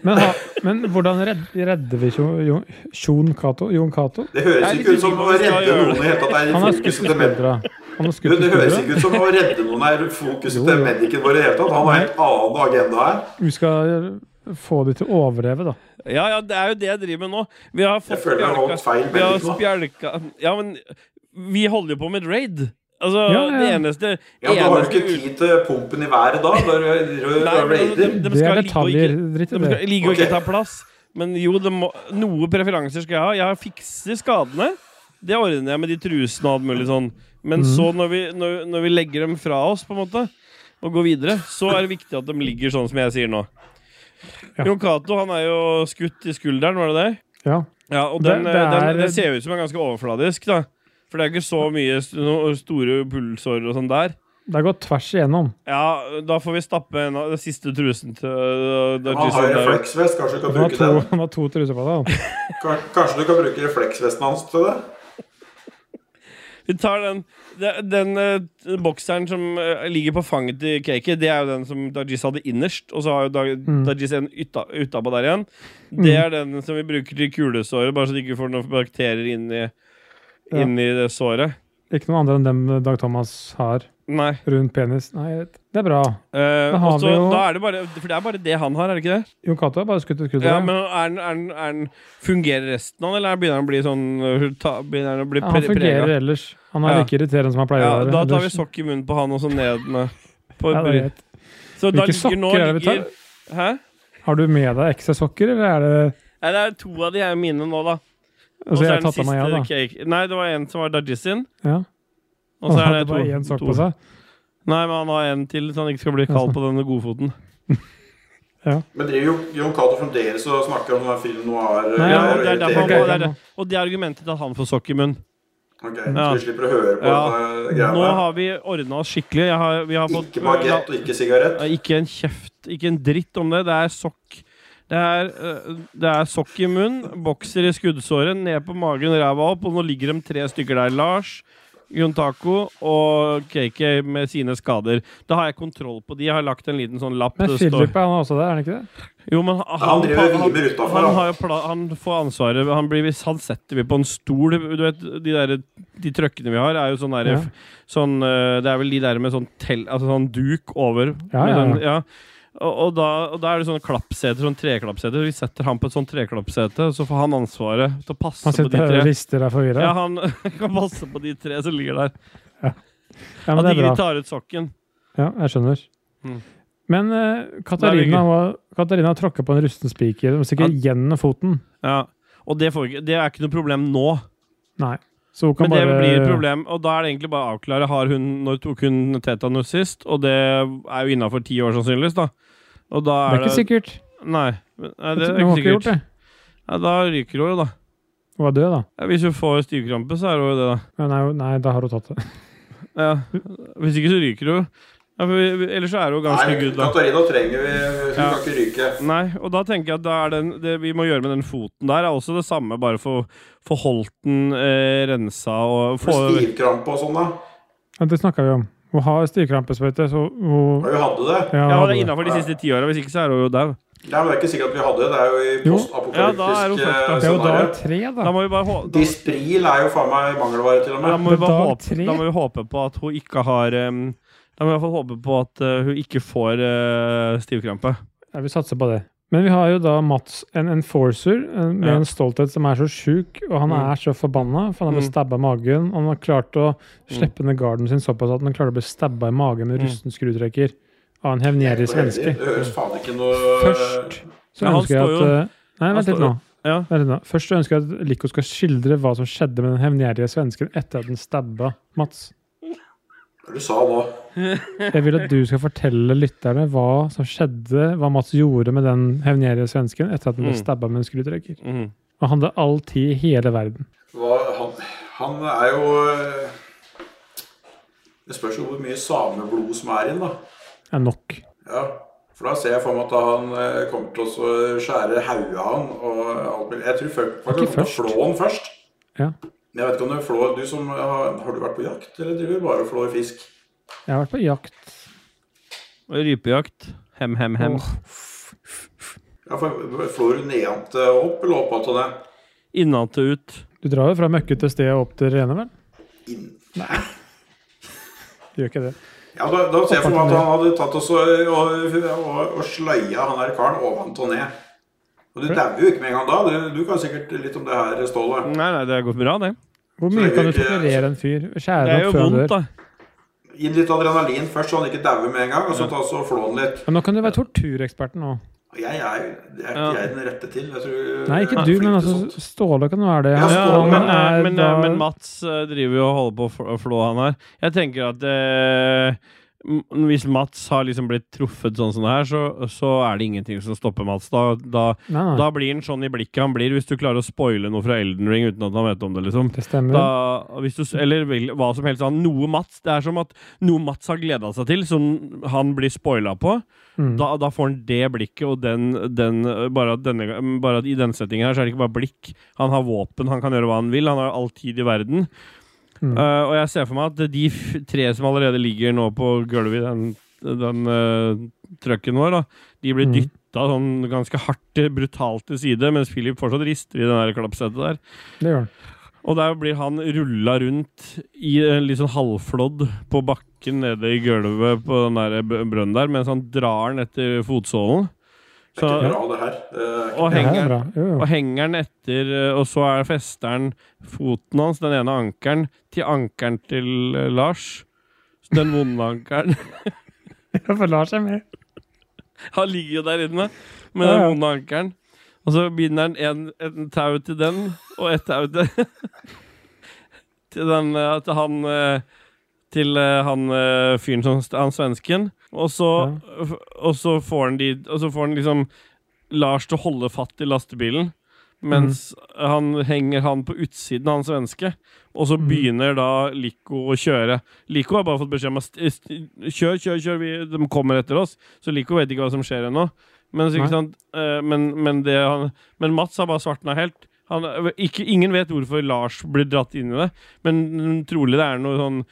Men, ha, men hvordan redd, redder vi Jon, Jon, Jon Cato? Jon Cato? det Jeg er høres litt ikke ut som usikker på å om vi redde skal gjøre noen i hele tatt. Det er i Han er fokuset til med- skuespillere. Han er Du, det høres skuespillere. ikke ut som å redde noen er fokuset Jo, til jo. medicen vår i hele tatt. Han har en helt annen agenda her. Vi skal få de til å overleve, da. Ja, ja, det er jo det jeg driver med nå. Vi har fått Jeg føler jeg har spjelka- holdt feil Vi har veldig nå. spjelka Ja, men vi holder jo på med raid. Altså, Ja, ja. det eneste Ja, men Da har du eneste ikke tid til pumpen i været da, der du er rød Nei, og men raider. de- de Det skal er ligge og detaljer. ikke- Dritt i De det. skal ligge og Ok. ikke ta plass. Men jo, det må, noe preferanser skal jeg ha. Jeg fikser skadene. Det ordner jeg med de trusene og alt mulig sånn. Men Mhm. så, når vi, når, når vi legger dem fra oss, på en måte, og går videre, så er det viktig at de ligger sånn som jeg sier nå. Ja. Jon Cato, han er jo skutt i skulderen, var det det? Ja. Ja, og Det- den, det er- den, det ser ut som er ganske overfladisk, da. For det er ikke så mye st- noe store pulsår og sånn der. Det har gått tvers igjennom. Ja, da får vi stappe en av den siste trusen til Han til har Christian der. refleksvest, kanskje du kan Han har bruke to, den? han har to truser på deg. da. Kan- Kanskje du kan bruke refleksvesten hans til det? Vi tar den Den, den eh, bokseren som eh, ligger på fanget til Cakey, det er jo den som Dajis hadde innerst, og så har jo Daj- Mm. Dajis en yta, utapå der igjen. Det er den som vi bruker til kulesåret, bare så de ikke får noen bakterier inn i, Ja. inn i det såret. Ikke noe andre enn dem Dag Thomas har Nei. rundt penis. Nei, jeg vet. det er bra. Eh, Da har og så, vi jo- da er det bare, for det er bare det han har, er det ikke det? Jon Cato har bare skutt et skudd. Ja, Ja, men er den, er den, er den, Fungerer resten av den, eller begynner den å bli sånn uh, ta, Begynner den å bli han pre fungerer prega? ellers. Han er Ja. like irriterende som han pleier Ja, å være. da tar vi ellers. sokk i munnen på han, og så ned med på Ja, det er bry- greit. Så da Hvilke ligger nå sokker er det vi tar? ligger, Hæ? Har du med deg ekstra sokker, eller er det Nei, det er to av de er mine nå, da. Og Altså, så jeg er har den tatt av meg, jeg, siste da. cake. Nei, det var en som var Dajis sin. Ja. Og så er hadde det to. bare én sokk to. på seg. Nei, men han har en til, så han ikke skal bli kald på denne godfoten. Men driver jo Jon Cato fremdeles og snakker om sånn film noir Nei, Ja, ja, og, det er det derfor han, greier må- det er, jeg det- og det er argumentet til at han får sokk i munnen. Ok, Ja. Så vi slipper å høre på Ja. denne Nå greia der. har vi ordna oss skikkelig. Jeg har, vi har fått Ikke bagett og ikke sigarett. Ja, Ikke en kjeft, ikke en dritt om det. Det er sokk. Det er, eh, det er sokk i munnen, bokser i skuddsåret, ned på magen, ræva opp, og nå ligger de tre stykker der. Lars, Jon Taco og KK med sine skader. Da har jeg kontroll på de. Jeg har lagt en liten sånn lapp. Men det står- Philip er han også der, er han ikke det? jo, men han, han driver han, og river utenfor, han, han. har jo pla han får ansvaret. Han, blir, han setter vi på en stol. Du vet, de, der, de trøkkene vi har, er jo sånn der, Ja. sånn, eh, Det er vel de der med sånn, tell, altså sånn duk over. Ja, med ja, den- ja. Og, og, da, og da er det sånne klappseter, sånn treklappseter. Vi setter han på et sånn treklappsete, så får han ansvaret til å passe Han på de sitter der tre. og rister og er forvirra. Ja, Ja, han kan passe på de tre som ligger der. men At det ikke er de bra. tar ut sokken. Ja, jeg skjønner. Mm. Men eh, Katarina, var- Katarina har tråkka på en rusten spiker, sikkert gjennom foten. Ja. Og det, får, ikke- det er ikke noe problem nå. Nei. Så hun kan Men det bare blir et problem, og da er det egentlig bare å avklare har hun, når tok hun tetanus sist, og det er jo innafor ti år sannsynligvis, da. Og da Det er er ikke sikkert. Nei, men- nei, det hun er ikke har ikke gjort sikkert. det. Nei, da ryker hun jo, da. Hun er død, da. Ja, hvis hun får stivkrampe, så er hun jo det, da. Men Nei, nei, da har hun tatt det. Ja. Hvis ikke, så ryker hun. Ja, for, vi- ellers så er hun ganske Nei, good, da. Katarina trenger vi. Hun Ja. kan ikke ryke. Nei, og da tenker jeg at da er den, det vi må gjøre med den foten der, er også det samme, bare få få holdt den eh, rensa og Med få stivkrampe og sånn, da. Ja, det snakka vi om. Hun har stivkrampesprøyte, så hun Og vi hadde det. Ja, Ja, det det er er innafor de siste ti åra. Hvis ikke, så er hun jo dau. Nei, men det er ikke sikkert at vi hadde det. Det er jo i Jo. Ja, da er hun postapokalyptisk eh, fucked up. jo dag scenario. tre, da. Da må vi bare hå- da- Dispril er jo faen meg mangelvare, til og Da med. må, vi Men bare dag håpe, tre? da må vi håpe på at hun ikke har um, Da må vi i hvert fall håpe på at uh, hun ikke får uh, stivkrampe. Ja, vi satser på det. Men vi har jo da Mats, en enforcer en- med Ja. en stolthet som er så sjuk, og han Mm. er så forbanna, for han har blitt Mm. stabba i magen. Og han har klart å slippe ned garden sin såpass at han klarer å bli stabba i magen Mm. med rusten skrutrekker av en hevngjerrig Det menneske. høres faen ikke noe Først så Ja, han ønsker jeg står at jo- eh, Nei, han vent litt står jo- nå. Ja. Vent litt nå. Først så ønsker jeg at Lico skal skildre hva som skjedde med den hevngjerrige svensken etter at den stabba Mats. Hva er det du sa nå? Jeg vil at du skal fortelle lytterne hva som skjedde, hva Mats gjorde med den hevngjerrige svensken etter at han ble Mm. stabba med en skrutrekker. Mhm. Og han hadde all tid i hele verden. Hva, han, han er jo eh, Det spørs jo hvor mye sameblod som er inn, da. Er nok. Ja, For da ser jeg for meg at han eh, kommer til å så skjære hodet av han og alt mulig. Jeg tror folk folk Ikke kommer til å først. flå han først. Ja. Jeg vet ikke om du flår Du som har, har du vært på jakt, eller driver du bare og flår fisk? Jeg har vært på jakt. Og Rypejakt. Hem, hem, hem. Åh. Ja, for Flår du nedante opp, eller opp til det? Innat og ut. Du drar jo fra møkkete sted opp til rene, vel? Inn. Du gjør ikke det. Ja, da, da ser jeg for meg at han hadde tatt oss og, og, og, og sløya han der karen oventil og ned. Og du Hm? dauer jo ikke med en gang da. Du, du kan sikkert litt om det her, Ståle. Nei, nei, det går bra, det. Hvor Så mye det kan du ikke- tolerere en fyr? Det Skjære er jo opp før han dør? vondt, da. Gi den litt adrenalin først, så han ikke dauer med en gang. Og så ta så flå den litt. Ja, nå kan du være tortureksperten nå. Og Jeg er jo det er ikke Ja. jeg den rette til. Jeg tror, Nei, ikke jeg er du, flink men til altså, sånt. Ståle kan være det. Ja, Han- Ja, han Ståle, men, er eh, men, da- eh, men Mats eh, driver jo og holder på å fl- å flå han her. Jeg tenker at eh, m- hvis Mats har liksom blitt truffet sånn som det her, så, så er det ingenting som stopper Mats. Da, da, Nei, nei, da blir han sånn i blikket han blir hvis du klarer å spoile noe fra Elden Ring uten at han vet om det, liksom. det stemmer. Da, hvis du, s- eller vil, hva som helst. Han, noe Mats Det er som at noe Mats har gleda seg til, som han blir spoila på. Mm. Da, da får han det blikket, og den, den bare, at denne, bare at i denne settingen her så er det ikke bare blikk. Han har våpen, han kan gjøre hva han vil. Han har all tid i verden. Mm. Eh, og jeg ser for meg at de f tre som allerede ligger nå på gulvet i den, den eh, trucken vår, da, de blir Mm. dyttet dytta sånn ganske hardt, brutalt til side, mens Philip fortsatt rister i den der klappsetet der. Det gjør han. Og der blir han rulla rundt i en litt sånn halvflådd på bakken nede i gulvet på den der b- brønnen der, mens han drar den etter fotsålen. Det er Så- ikke bra, det her. Det er ikke- Og Det her er henger, bra. Jo, jo. og henger den etter, eh, og så er festeren foten hans, den ene ankeren, til ankeren til eh, Lars. Så den vonde ankeren. Ja, for Lars er med. Han ligger jo der inne med Ja, den ja. vonde ankeren. Og så binder han en, en tau til den, og et tau til Til den eh, Til han eh, Til eh, han eh, fyren som Han svensken. Og så Og så får han de Og så får han liksom Lars til å holde fatt i lastebilen. Mens han henger han på utsiden, han svenske. Og så begynner da Lico å kjøre. Lico har bare fått beskjed om at st- st- kjør, kjør, kjør, vi, de kommer etter oss. Så Lico vet ikke hva som skjer ennå. Men, så, Nei. ikke sant? eh, men, men, det han, men Mats har bare svartna helt. Han, ikke, ingen vet hvorfor Lars blir dratt inn i det, men mm, trolig det er noe sånn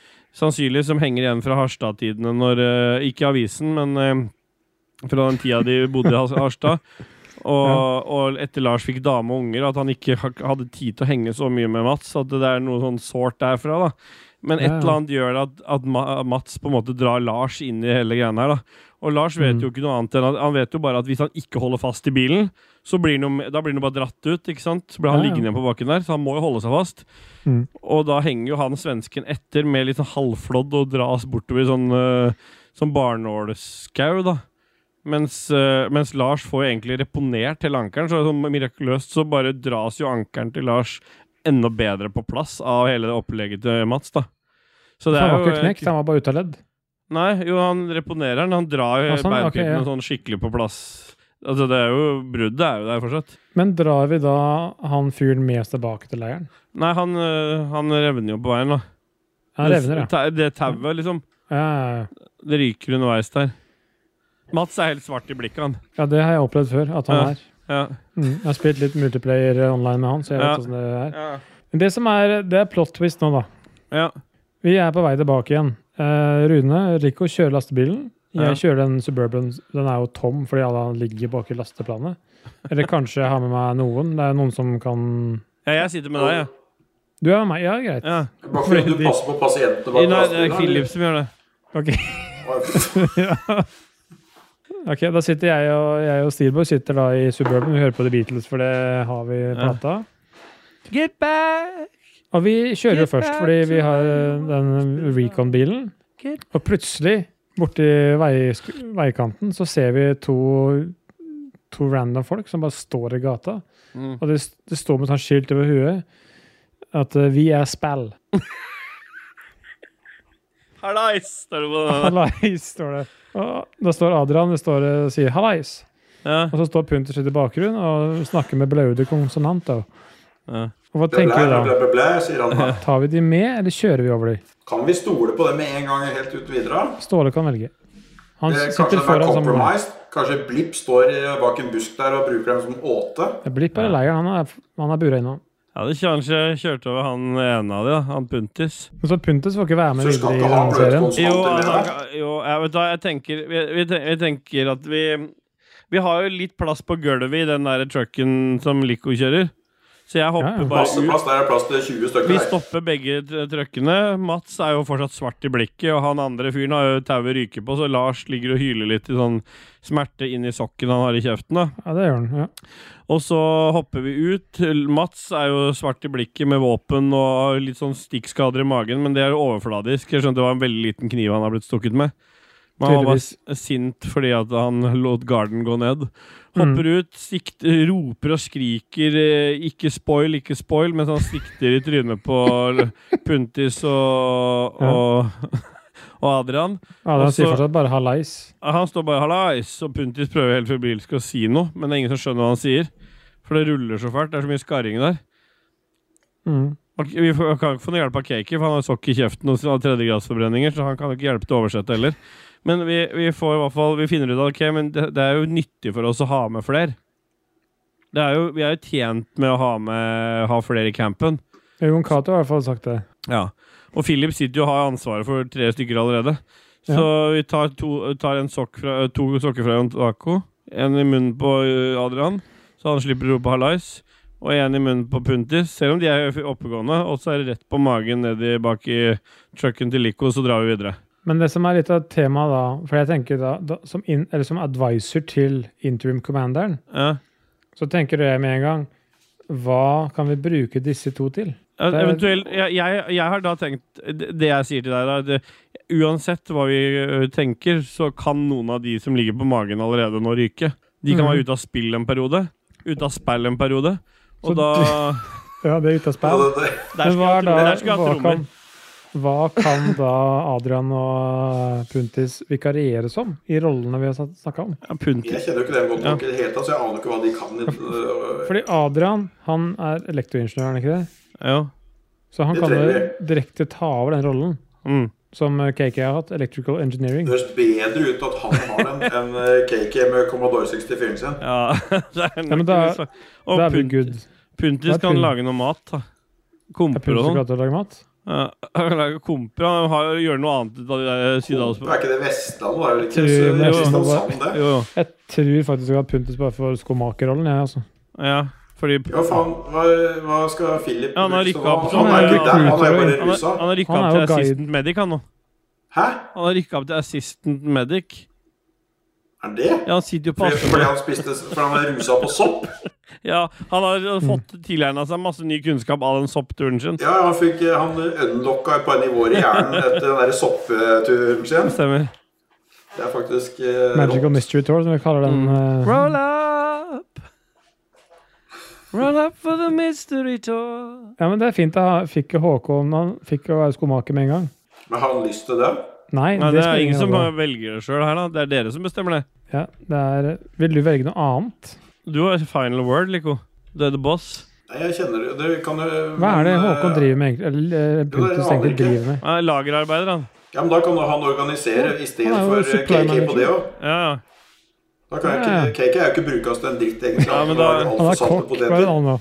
sannsynlig som henger igjen fra Harstad-tidene når eh, Ikke avisen, men eh, fra den tida de bodde i Has- Harstad. Og, og etter Lars fikk dame og unger, at han ikke ha- hadde tid til å henge så mye med Mats. At det er noe sånn sårt derfra, da. Men et Ja, ja. eller annet gjør at, at Ma- Mats på en måte drar Lars inn i hele greiene her, da. Og Lars vet Mm. jo ikke noe annet enn at han vet jo bare at hvis han ikke holder fast i bilen, så blir han, jo- da blir han jo bare dratt ut, ikke sant? Så blir han Ja, ja. liggende igjen på bakken der, så han må jo holde seg fast. Mm. Og da henger jo han svensken etter med litt sånn halvflådd og dras bortover i sånn, eh, sånn barnåleskau, da. Mens, eh, mens Lars får jo egentlig reponert hele ankeren, så sånn mirakuløst så bare dras jo ankeren til Lars enda bedre på plass av hele det opplegget til Mats, da. Så For det Han er var jo ikke knekt, han var bare ute av ledd. Nei, jo, han reponerer den. Han drar jo Ah, sånn, ok, beinpipene ja. sånn skikkelig på plass. Altså, det er jo Bruddet er jo der fortsatt. Men drar vi da han fyren med oss tilbake til leiren? Nei, han, øh, han revner jo på veien, da. Han revner, ja. Det, det tauet, liksom. Ja, ja, ja. Det ryker underveis der. Mats er helt svart i blikket, han. Ja, det har jeg opplevd før, at han Ja. er. Ja. Mm. Jeg har spilt litt multiplayer online med han, så jeg vet Ja. hvordan det er. Ja. Men det som er, det er plot twist nå, da. ja. Vi er på vei tilbake igjen. Eh, Rune, Rico kjører lastebilen. Jeg Ja. kjører den Suburban. Den er jo tom fordi alle ligger bak i lasteplanet. Eller kanskje jeg har med meg noen. Det er noen som kan ja jeg sitter med deg, jeg. Du er med meg? Ja, greit. Ja. Bare fordi du passer på pasientene bak Nei, det er lastebilen, Philip som gjør det. Ok. eller? Ok, Da sitter jeg og, jeg og Steelboy sitter da i Suburban. Vi hører på The Beatles, for det har vi plata. Get back! Og vi kjører jo Get først, back fordi vi to har den Recon-bilen. Get- Og plutselig, borti vei, veikanten, så ser vi to, to random folk som bare står i gata. Mm. Og det, det står med sånn skilt over huet at eh, 'vi er spall'. Hallais! står det på den der. Hallais, står det. Og da står Adrian det står, eh, og sier 'hallais'. Ja. Og så står Punter sitt i bakgrunnen og snakker med blaute konsonanter. Ja. Og hva Blæ, tenker du blæ, da? blæ, blæ, blæ, sier han da. Tar vi de med, eller kjører vi over de? Kan vi stole på det med en gang helt uten videre? Ståle kan velge. Han Eh, Kanskje sitter det er foran sammen med compromised? Kanskje Blipp står eh, bak en busk der og bruker dem som åte? Blipp er i leiren. Han er, han er bura innom. Jeg hadde kanskje kjørt over han ene av de, da. Han Puntis. Men så Puntes får ikke være med Så du skal videre i ikke ha denne bløte serien. Jo, konstanter altså, med deg? jo jeg, vet du, hva, jeg tenker vi, vi, ten- vi tenker at vi Vi har jo litt plass på gulvet i den der trucken som Lico kjører. Så jeg Ja, ja. hopper bare Plass, ut. plass, der er plass til 20 stykker. Vi der. stopper begge tr- trøkkene. Mats er jo fortsatt svart i blikket, og han andre fyren har jo tauet ryke på, så Lars ligger og hyler litt i sånn smerte inni sokken han har i kjeften. da Ja, det gjør den. Ja. Og så hopper vi ut. Mats er jo svart i blikket med våpen og litt sånn stikkskader i magen, men det er jo overfladisk. Jeg skjønte det var en veldig liten kniv han har blitt stukket med. Men han var Tydeligvis. s- sint fordi at han lot garden gå ned. Hopper Mm. ut, sikt, roper og skriker eh, 'ikke spoil, ikke spoil', mens han sikter i trynet på Puntis og, Ja. og, og Adrian. Ja, den Og så- sier fortsatt bare 'hallais'. Han står bare 'hallais', og Puntis prøver helt febrilsk å si noe, men det er ingen som skjønner hva han sier. For det ruller så fælt. Det er så mye skarring der. Mm. Og Vi får- kan ikke få noe hjelp av Kaki, for han har sokk i kjeften og har tredjegradsforbrenninger, så han kan ikke hjelpe til å oversette heller. Men vi, vi får i hvert fall Vi finner ut at ok, men det, det er jo nyttig for oss å ha med flere. Det er jo, vi er jo tjent med å ha, med, ha flere i campen. Jon Cato har i hvert fall sagt det. Ja. Og Philip sitter jo og har ansvaret for tre stykker allerede. Så vi tar, to, tar en sokk fra, to sokker fra Jon Taco. En i munnen på ø, Adrian, så han slipper å rope 'hallais'. Og en i munnen på Puntis, selv om de er oppegående. Og så er det rett på magen nedi bak i trucken til Lico, så drar vi videre. Men det som er litt av temaet da, for jeg tenker da, da som, in, eller som advisor til interim commanderen, Ja. så tenker jeg med en gang Hva kan vi bruke disse to til? Eh, Det er- Eventuelt jeg, jeg, jeg har da tenkt Det det jeg sier til deg, da er at, eh, Uansett hva vi ø, tenker, så kan noen av de som ligger på magen allerede nå, ryke. De kan Mhm. være ute av spill en periode. Ute av spill en periode. Så Og da Ja, det er ute av Ja, spill. det- det- Der Men skulle hva, jeg er hatt- der da, skulle jeg hva, hatt kan, trommer. hva kan da Adrian og eh, Puntis vikariere som i rollene vi har snakka om? Ja, punt. Jeg kjenner jo ikke dem godt nok Ja. i det hele tatt, så jeg aner ikke hva de kan. øh, Fordi Adrian han er elektroingeniør, er han ikke det? Ja. Så han Det kan jo trenger direkte ta over den rollen Mm. som KK har hatt, Electrical Engineering. Det høres bedre ut at han har den enn øh, KK med Commodore 64-en sin. ja. det er men nok da- det samme. Da Og er vi punt, good. da Puntis er kan punt. lage noe mat. da. Er Komper Puntis og glad sånn. til å lage mat? Ja, han lager komper. Han har, gjør noe annet ut av de der eh, Det sydalsbrødene. er ikke det Vestlandet, da? Er det ikke Tror så- jeg Kristiansand, det? Jo, jo. Jeg tror faktisk at Puntis bare får skomakerrollen, jeg, altså. Ja, fordi Ja, faen. Hva, hva skal Philip Ja, han har bruke som- rykket opp som- Han er jo ikke der, han er jo bare Han har, rusa. han har rykka Han er opp til jo guide. assistant medic, han nå. Hæ? Han har rykka opp til assistant medic. Er det? Ja, han sitter jo på Fordi, fordi Aspmyra. han spiste Fordi han er rusa på sopp? Ja, han har Mm. eh, fått tilegna seg masse ny kunnskap av den soppturen sin. Ja, han fikk eh, Han unlocka et par nivåer i hjernen etter den derre soppturen sin. Stemmer. Det er faktisk eh, Magical rått. Mystery Tour, som vi kaller den. eh, Roll up! Roll up for the mystery tour. Ja, men Det er fint. da Fikk jo Håkon Han fikk jo være skomaker med en gang. Men har han lyst til det? Nei, Nei, det er ingen som rolle. velger det sjøl her, da. Det er dere som bestemmer det. ja, det er, Vil du velge noe annet? Du har final word, Lico. Du er the boss. Nei, jeg kjenner det. det kan, jo- Hva er det men, eh, Håkon driver med, egentlig? Eller eh, Puntus aner egentlig ikke. driver med? Han er lagerarbeider, han. Ja, men Da kan jo han organisere Han er jo istedenfor supply KK eh, på manager. det òg. Ja, ja. Da kan jeg ikke, KK er jo ikke brukes til en dritt, egentlig. Ja, men da- Han lager alt Han for er salte kokk. Hva er det poteter. han nå?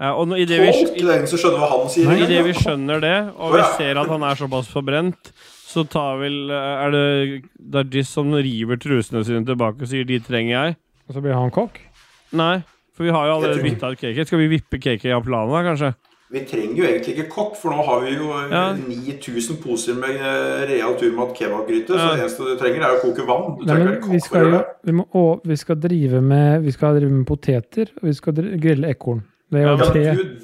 ja og nå- i det vi Folk det er ingen som skjønner hva han sier. Nei, I det egentlig. vi skjønner det, og vi ser at han er såpass forbrent, så tar vel Er det Dargis som river trusene sine tilbake og sier 'de trenger jeg'? Og så blir han kokk? Nei, for vi har jo Jeg allerede tror- bytta ut KK. Skal vi vippe KK av planen, da, kanskje? Vi trenger jo egentlig ikke kokk, for nå har vi jo eh, Ja. 9000 poser med eh, real turmat kebabgryte, så Ja. det eneste du trenger, er å koke vann. Du Nei, trenger men ikke vi kokk for å skal jo gjøre det. vi må, å, vi skal drive med Vi skal drive med poteter, og vi skal dri- grille ekorn. Det er Ja, jo Ja, tre men du,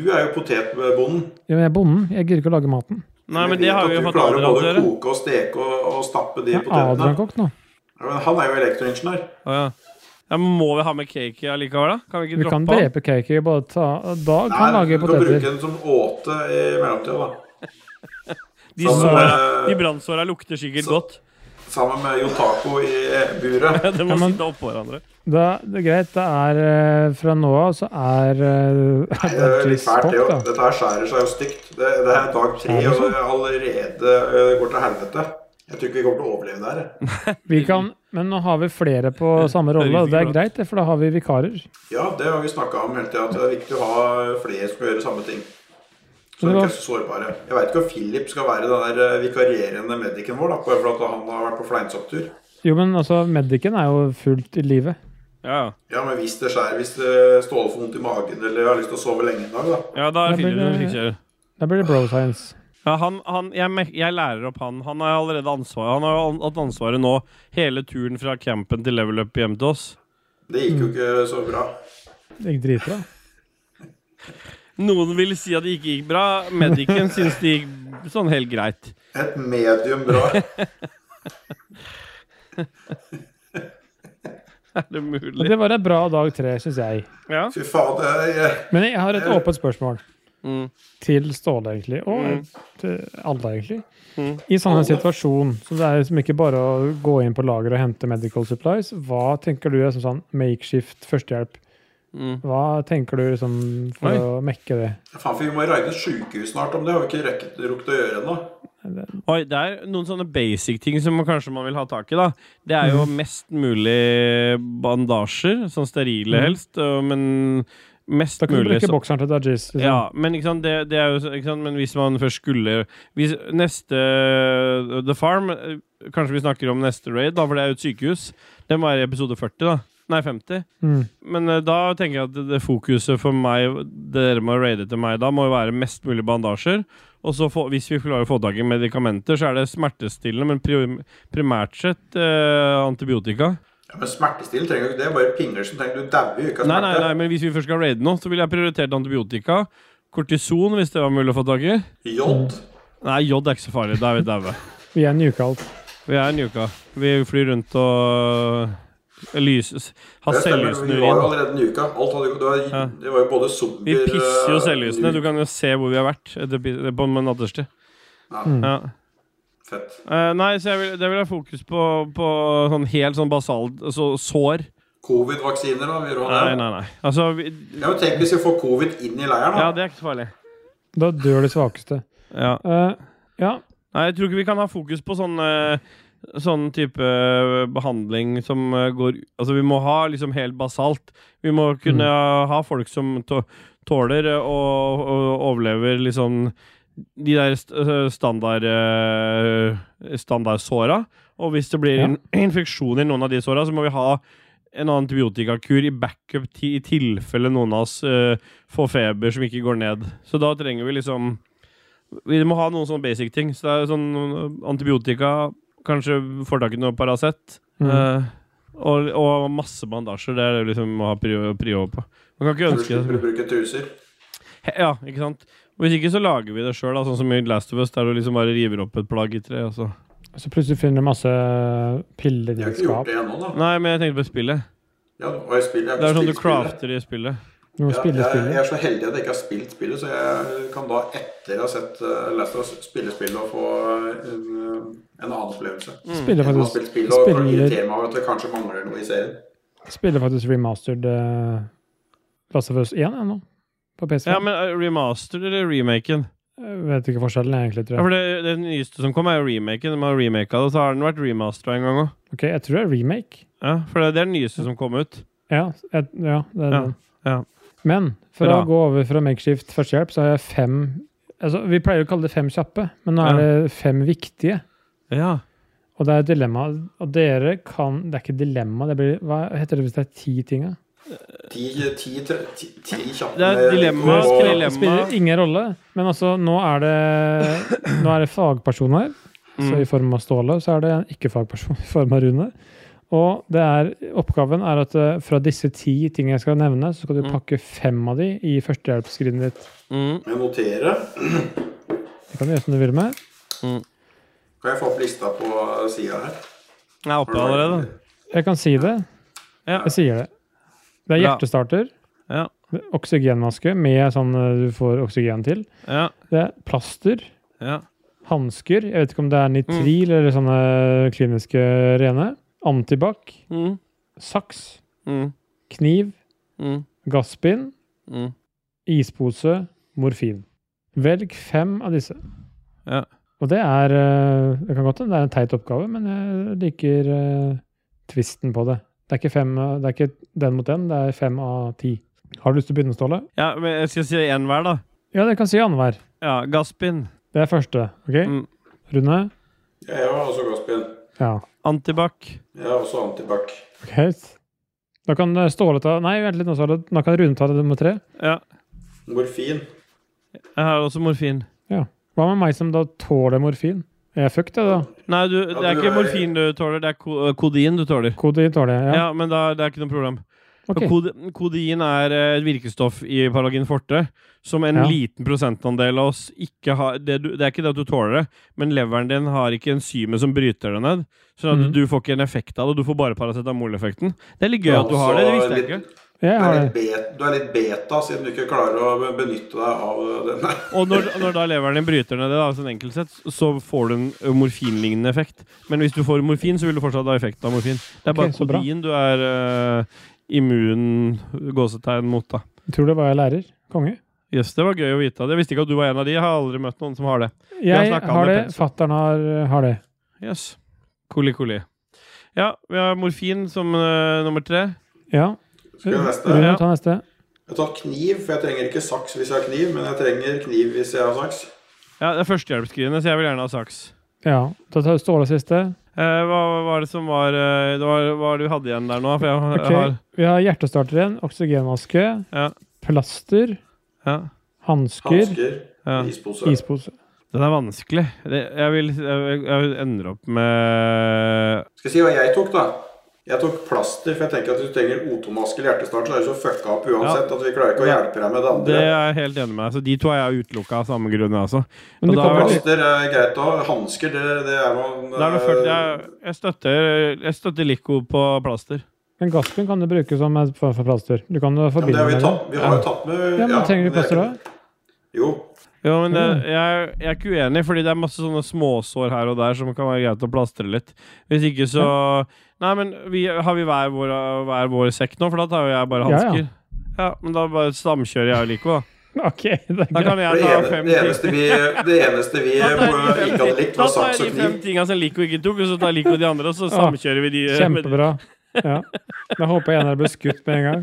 du er jo potetbonden. Ja, men jeg er bonden. Jeg gidder ikke å lage maten. Nei, Jeg men det vet har at vi jo du fått klarer Adrian å til å både gjøre. koke og steke og, og stappe de Det er Adrian potetene. kokk nå. Ja, men han er jo elektroingeniør. Å, ja. Ja, men må vi ha med KK allikevel, da? Kan vi ikke Vi kan droppe han? drepe cake og bare ta Dag Nei, kan lage du kan bruke poteter. den som åte i mellomtida, da. De, Sammen såra- med- de brannsåra lukter sikkert godt. Sammen med Jon Taco i eh, buret. De må Ja, men- sitte oppå hverandre. Da, det er greit. Det er eh, Fra nå av så er eh, Det er jo litt Adventis fælt, det. kokk, jo. da. Dette her skjærer seg jo stygt. Det, det er dag tre, Er det og sånn? det allerede eh, går til helvete. Jeg tror ikke vi kommer til å overleve det her. Vi kan, men nå har vi flere på samme rolle, og det er greit, det, for da har vi vikarer. Ja, det har vi snakka om hele tida, at det er viktig å ha flere som gjør samme ting. Så Men det de ikke var- er så sårbare. Jeg veit ikke om Philip skal være den der eh, vikarierende medicen vår, da, bare fordi han har vært på fleinsopptur. Jo, men altså, medicen er jo fullt i live. Ja, ja. Ja, men hvis det skjærer, hvis det Ståle får vondt i magen eller har lyst til å sove lenge en dag, da. ja da Ja, finner du men, noen eh, slikkjører. Da blir det bro science. Ja, han, han, jeg, mek- jeg lærer opp han. Han har allerede ansvar. Han har an- hatt ansvaret nå hele turen fra campen til level up hjem til oss. Det gikk Mm. jo ikke så bra. Det gikk dritbra. Noen vil si at det ikke gikk bra. Medicen syns det gikk sånn helt greit. Et medium bra. Er det Og mulig? det var en bra dag tre, syns jeg. Ja. Fy faen, det er eh, Men jeg har et åpent spørsmål. Mm. Til Ståle, egentlig. Og til alle, egentlig. Mm. I sånn en situasjon, så det er liksom ikke bare å gå inn på lager og hente medical supplies, hva tenker du er som sånn makeshift førstehjelp? Mm. Hva tenker du liksom for Oi. å mekke det? Faen, for vi må raide et sykehus snart om det. Har vi ikke rekket rukket å gjøre ennå? Oi, det er noen sånne basic ting som man kanskje man vil ha tak i. da Det er jo mest mulig bandasjer, sånn sterile Mhm. helst, og- men mest Da kan du mulig bruke så- bokseren til Dudgies. Liksom. Ja, men ikke sant, det, det er jo så- ikke sant, Men hvis man først skulle hvis, Neste uh, The Farm eh, Kanskje vi snakker om neste raid, da, for det er jo et sykehus. Det må være i episode 40, da. Nei, 50. Mm. Men eh, da tenker jeg at det, det fokuset for meg dere må raide til meg da, må jo være mest mulig bandasjer. Og så få, hvis vi klarer å få tak i medikamenter, så er det smertestillende, men pri- primært sett eh, antibiotika. Ja, men smertestillende trenger jo ikke det. Bare pingler som tenker du dauer jo ikke av Nei, nei, nei, smerte. men hvis vi først skal raide nå, så ville jeg prioritert antibiotika. Kortison, hvis det var mulig å få tak i. Mm. Jod. Nei, jod er ikke så farlig. Da er vi daue. Vi er nuka alt. Vi er nuka. Vi flyr rundt og lyses. Har Det stemmer, selvlysende Vi var jo urin. allerede en uke. Alt hadde, det, Ja. var, det var jo både Vi zombier pisser jo eh, selvlysende. Du kan jo se hvor vi har vært etter pi- på natterstid. Ja. Ja. Fett. Eh, nei, så jeg vil, det vil jeg fokus på, på sånn helt sånn basalt så, sår. Covid-vaksiner, da? Vil du ha Nei, det? nei, nei. Altså vi, Ja, men Tenk hvis vi får covid inn i leiren, da. Ja, det er ikke så farlig. Da dør de svakeste. Ja. Eh, ja, Nei, jeg tror ikke vi kan ha fokus på sånn eh, Sånn type eh, behandling som eh, går Altså, vi må ha liksom helt basalt. Vi må kunne Mm. ha folk som tå- tåler eh, og, og overlever liksom de der st eh, standard eh, standardsåra. Og hvis det blir Ja. in infeksjon i noen av de såra, så må vi ha en antibiotikakur i backup ti i tilfelle noen av oss eh, får feber som ikke går ned. Så da trenger vi liksom Vi må ha noen sånne basic ting. Så det er sånn eh, antibiotika, kanskje får tak i noe Paracet. Mm. eh, og, og masse bandasjer. Det er det vi liksom må ha prio, prio på. Man kan ikke Du ønske slipper det. å bruke truser. He- Ja, ikke sant? Hvis ikke så lager vi det sjøl, sånn som i Last of Us, der du liksom bare river opp et plagg i tre. Og så. så plutselig finner de masse eh, piller Jeg i har et ikke gjort skap. det ennå, da. Nei, men jeg tenkte på spillet. Ja, og jeg spiller, jeg Det har er ikke sånn du spilt spillet. crafter i spillet. Du må Ja, spille jeg, jeg spillet. er så heldig at jeg ikke har spilt spillet, så jeg kan da etter å ha sett eh, Last of Us spille spillet og få en, eh, en annen opplevelse. Mm. Spiller Jeg har faktisk, spilt spillet og kan gi spiller- tema at det kanskje mangler noe i serien. spiller faktisk remastered uh, Last of Us 1 ennå. På PC. Ja, men eh, remaster eller remaken? Jeg vet ikke forskjellen, egentlig, Ja, tror jeg. for det, det nyeste som kom, er jo remaken. De har remaka det, og så har den vært remastera en gang òg. Ok, jeg tror det er remake. Ja, for det, det er den nyeste som kom ut. Ja, jeg, ja det er Ja, den. ja. Men for Bra. å gå over fra makeshift førstehjelp, så har jeg fem altså, Vi pleier å kalle det fem kjappe, men nå er det fem viktige. Ja. Og det er et dilemma. Og dere kan Det er ikke dilemma, det blir Hva heter det hvis det er ti ting? da? Ti, ti, tre- ti, ti kjappe Det er et dilemma, med- og- skriv dilemma. Det spiller ingen rolle, men altså, nå er det, nå er det fagpersoner. Så Mm. i form av Ståle, så er det en ikke-fagperson i form av Rune. Og det er, oppgaven er at eh, fra disse ti tingene jeg skal nevne, så skal du Mm. pakke fem av de i førstehjelpsskrinet ditt. Mm. Med notere. Det kan du gjøre som du vil med. Kan jeg få opp lista på sida her? Jeg er oppe allerede. Jeg kan si det. Ja. Jeg sier det. Det er Bra. hjertestarter. Ja. Oksygenmaske med sånn eh, du får oksygen til. Ja. Det er plaster. Ja. Hansker. Jeg vet ikke om det er Mm. nitril eller sånne kliniske rene. Antibac. Mm. Saks. Mm. Kniv. Mm. Gasspinn. Mm. Ispose. Morfin. Velg fem av disse. Ja. Og det er eh, Det kan godt hende det er en teit oppgave, men jeg liker eh, tvisten på det. Det er, ikke fem, av- det er ikke den mot den, det er fem av ti. Har du lyst til å begynne, Ståle? ja, men jeg skal si én hver, da. Ja, det kan si annenhver. Ja, Gaspin. Det er første. OK? Mm. Rune? Ja, jeg har også gasspinn. Ja. Antibac. Jeg har også antibac. OK. Da kan eh, Ståle ta Nei, vent litt, nå, Ståle. Da kan Rune ta det nummer tre. Ja. Morfin. Jeg har også morfin. Ja. Hva med meg som da tåler morfin? Er jeg fucked, jeg, da? Nei, du, det er du ikke er- morfin du tåler, det er ko- eh, kodin du tåler. Kodein tåler jeg. Ja. Ja, men da, det er ikke noe problem. Ok. Kod, kodein er eh, et virkestoff i Paragin forte som en Ja. liten prosentandel av oss ikke har det, du- det er ikke det at du tåler det, men leveren din har ikke enzymet som bryter det ned. Sånn at Mhm. du får ikke en effekt av det. Du får bare paracetamoleffekten. Det er litt gøy at du har Så det. Det visste jeg litt- ikke. Jeg Du har er, det. litt beta, du er litt beta siden du ikke klarer å benytte deg av den. Nei. Og når, når da leveren din bryter ned det, da, sånn enkelt sett, så får du en ø, morfinlignende effekt. Men hvis du får morfin, så vil du fortsatt ha effekten av morfin. Det er bare Ok, så bra. kodein du er ø, immun gåsetegn mot, da. Tror det var jeg lærer. Konge. Jøss, det var gøy å vite. Jeg visste ikke at du var en av de. Jeg har aldri møtt noen som har det. har Jeg snakket om har det. det, Petter. Fattern har, eh, har det. Jøss. Koli, koli. Ja, vi har morfin som ø, nummer tre. Ja. Skal jeg neste? Rune, ta neste. Jeg tar kniv, for jeg trenger ikke saks hvis jeg har kniv, men jeg trenger kniv hvis jeg har saks. Ja, det er førstehjelpsskrinet, så jeg vil gjerne ha saks. Ja. Da tar Ståle siste. Eh, hva hva var det som var ø, det var, Hva var det du hadde igjen der nå? For jeg, Ok. jeg har Vi har hjertestarter igjen. Oksygenmaske. Ja. Plaster. ja, Hansker. Hansker, ja. ispose. Ispose. Den er vanskelig. Det, jeg, vil, jeg, jeg ender opp med Skal jeg si hva jeg tok, da? Jeg tok plaster, for jeg tenker at hvis du trenger O2-maske eller hjertestart, så er du så fucka opp uansett at vi klarer ikke å hjelpe deg med det Det andre. er jeg helt enig med. Så de to er jeg utelukka av samme grunn. Altså. Men Og du da kommer er det, Plaster er greit å ha. Hansker, det, det er eh, man da er det først, jeg, jeg støtter, jeg støtter Lico på plaster. Men gassbind kan du bruke som en form for plaster. Du kan jo ja, men det forbinde har vi, med det. tatt, vi har jo tatt med Ja, men Trenger du det er plaster da? ikke- Jo. Jo, men det, Mm. jeg, jeg er ikke uenig, fordi det er masse sånne småsår her og der som kan være greit å plastre litt. Hvis ikke så Nei, men vi, har vi hver vår, hver vår sekk nå? For da tar jo jeg Ja, bare ja. hansker. Ja, men da bare samkjører jeg og Lico, da. Ok, det er Da greit. kan Det, jeg ta ene, fem det eneste vi, det eneste vi eh, Da tar ikke jeg de hadde fem ting- likt, da var tar saks jeg og de fem kniv. tinga som Lico ikke tok, og så tar Lico de andre, og så samkjører vi de. eh, Kjempebra. Ja. Da håper jeg en av dere blir skutt med en gang.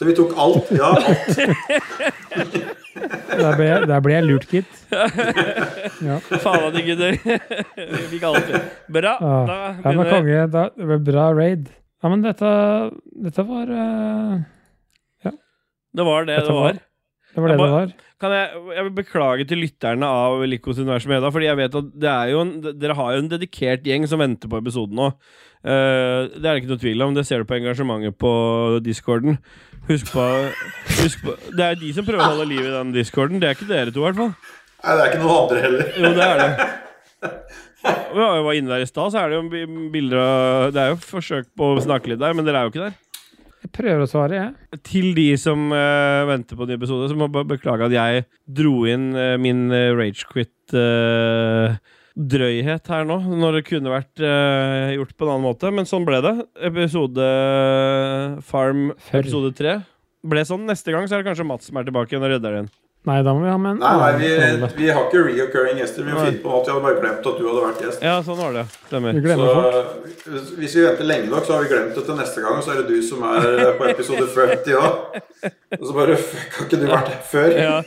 Så vi tok alt. Ja, alt. Der ble jeg, der ble jeg lurt, gitt. Faen at ikke det Vi fikk alt det. Bra. Ja. Da Ah. Ja, men begynner konge, da, det ble bra raid. Ja, men dette, dette var eh, Det var det Dette det var- var. Det var det det Jeg bare- var. Kan jeg, jeg vil beklage til lytterne av Likos univers med Eda, fordi jeg vet at det er jo en, dere har jo en dedikert gjeng som venter på episoden nå. Eh, det er det ikke noe tvil om. Det ser du på engasjementet på discorden. Husk på, husk på Det er de som prøver å holde liv i den discorden. Det er ikke dere to, i hvert fall. Nei, det er ikke noen andre heller. Jo, det er det. Vi var jo var inne der i stad, så er det jo bi- bilder av Det er jo forsøk på å snakke litt der, men dere er jo ikke der. Jeg prøver å svare, jeg. Til de som eh, venter på en ny episode, så må jeg bare beklage at jeg dro inn eh, min eh, rage ragequit-drøyhet her nå, når det kunne vært eh, gjort på en annen måte. Men sånn ble det. Episode Farm Før. episode tre ble sånn. Neste gang så er det kanskje Mats som er tilbake igjen og redder den. Nei, da må vi ha med en Nei, nei vi, annen rolle. vi har ikke reoccurring gjester. Vi må Nei. finne på noe. Jeg hadde bare glemt at du hadde vært gjest. Ja, sånn var det. Vi Stemmer. glemmer folk. Så hvis- hvis vi venter lenge nok, så har vi glemt det til neste gang. Og så er det du som er eh, på episode 50 òg. Og så bare fuck, Har ikke du vært her før? Ja.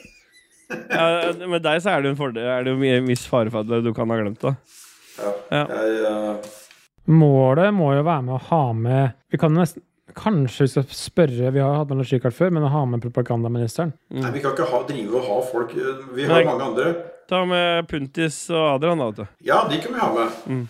ja, med deg så er det jo en fordel. Er det jo mye- en viss fare for at du kan ha glemt det. Ja. Jeg, eh, Målet må jo være med å ha med Vi kan nesten Kanskje vi skal spørre Vi har hatt med noe skikart før, men å ha med propagandaministeren. nei, vi kan ikke ha, drive og ha folk Vi har Nei. mange andre. Ta med Puntis og Adrian, da, vet du. Ja, de kan vi ha med.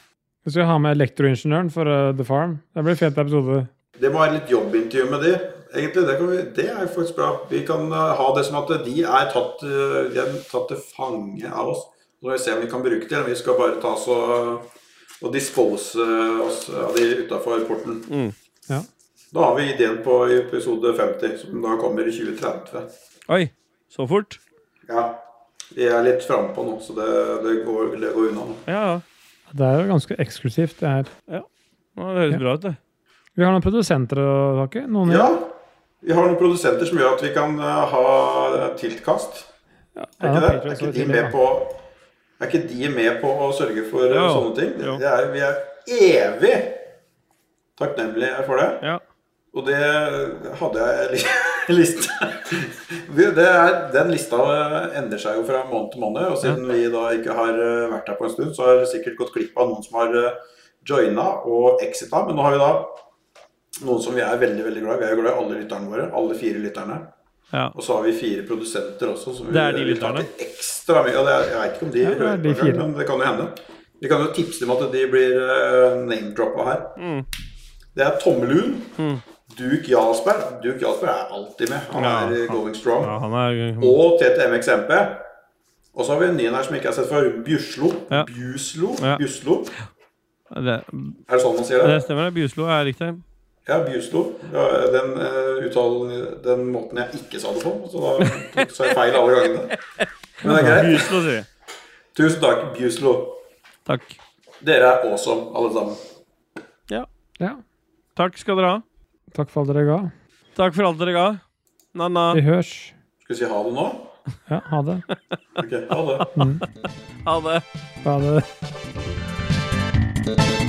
Vi skal ha med elektroingeniøren for eh, The Farm. Det blir en fet episode. Det må være litt jobbintervju med de. Egentlig, det, kan vi, det er faktisk bra. Vi kan eh, ha det som at de er tatt, eh, de er tatt til fange av oss. Så skal vi se om vi kan bruke det, eller om vi skal bare ta oss og, og dispose oss av de utafor porten. Ja. Da har vi ideen på episode 50, som da kommer i 2030. Oi, så fort? Ja. Vi er litt frampå nå, så det, det, går, det går unna nå. Ja, ja. Det er jo ganske eksklusivt, det her. Nå, det høres bra ut, det. Vi har noen produsenter å takke. Noen Ja. Vi har noen produsenter som gjør at vi kan eh, ha tiltkast. Er Ja, ikke det? Er Patreon står ikke de tidlig, med da. på er ikke de med på å sørge for eh, Jo, sånne ting? jo. Det er, vi er evig takknemlige for det. Ja. Og det hadde jeg li- lista Vi- det er, Den lista endrer seg jo fra måned til måned. Og siden vi da ikke har eh, vært her på en stund, så har det sikkert gått glipp av noen som har eh, joina og exita. Men nå har vi da noen som vi er veldig veldig glad i. Vi er jo glad i alle lytterne våre. Alle fire lytterne. Ja. Og så har vi fire produsenter også. Som vi- Det er de vi tar lytterne. til Ekstra mye. Ja, det er, jeg vet ikke om de, det er hører de på fire. det, men det kan jo hende. Vi kan jo tipse dem at de blir uh, name-droppa her. Det er Tommelun. Duke Jarlsberg. Duke Jarlsberg er alltid med. Han Ja, er eh, han- going strong. Ja, han er Og TTMXMP. Og så har vi en ny en her som jeg ikke har sett før. Bjuslo. Ja. Bjuslo. Ja. Bjuslo. det, Er det sånn man sier det? det stemmer, det. Bjuslo er riktig. Ja, Bjuslo. Ja, Den eh, uttalen Den måten jeg ikke sa det på. Så da tok- sa jeg feil alle gangene. Men det er greit. Bjuslo, sier jeg. Tusen takk, Bjuslo. Takk. Dere er awesome, alle sammen. Ja. Takk skal dere ha. Takk for alt dere ga. Takk for alt dere ga. Na-na. Vi hørs. Skal vi si ha det nå? Ja, ha det. Ok, ha det. Ha det. Ha det.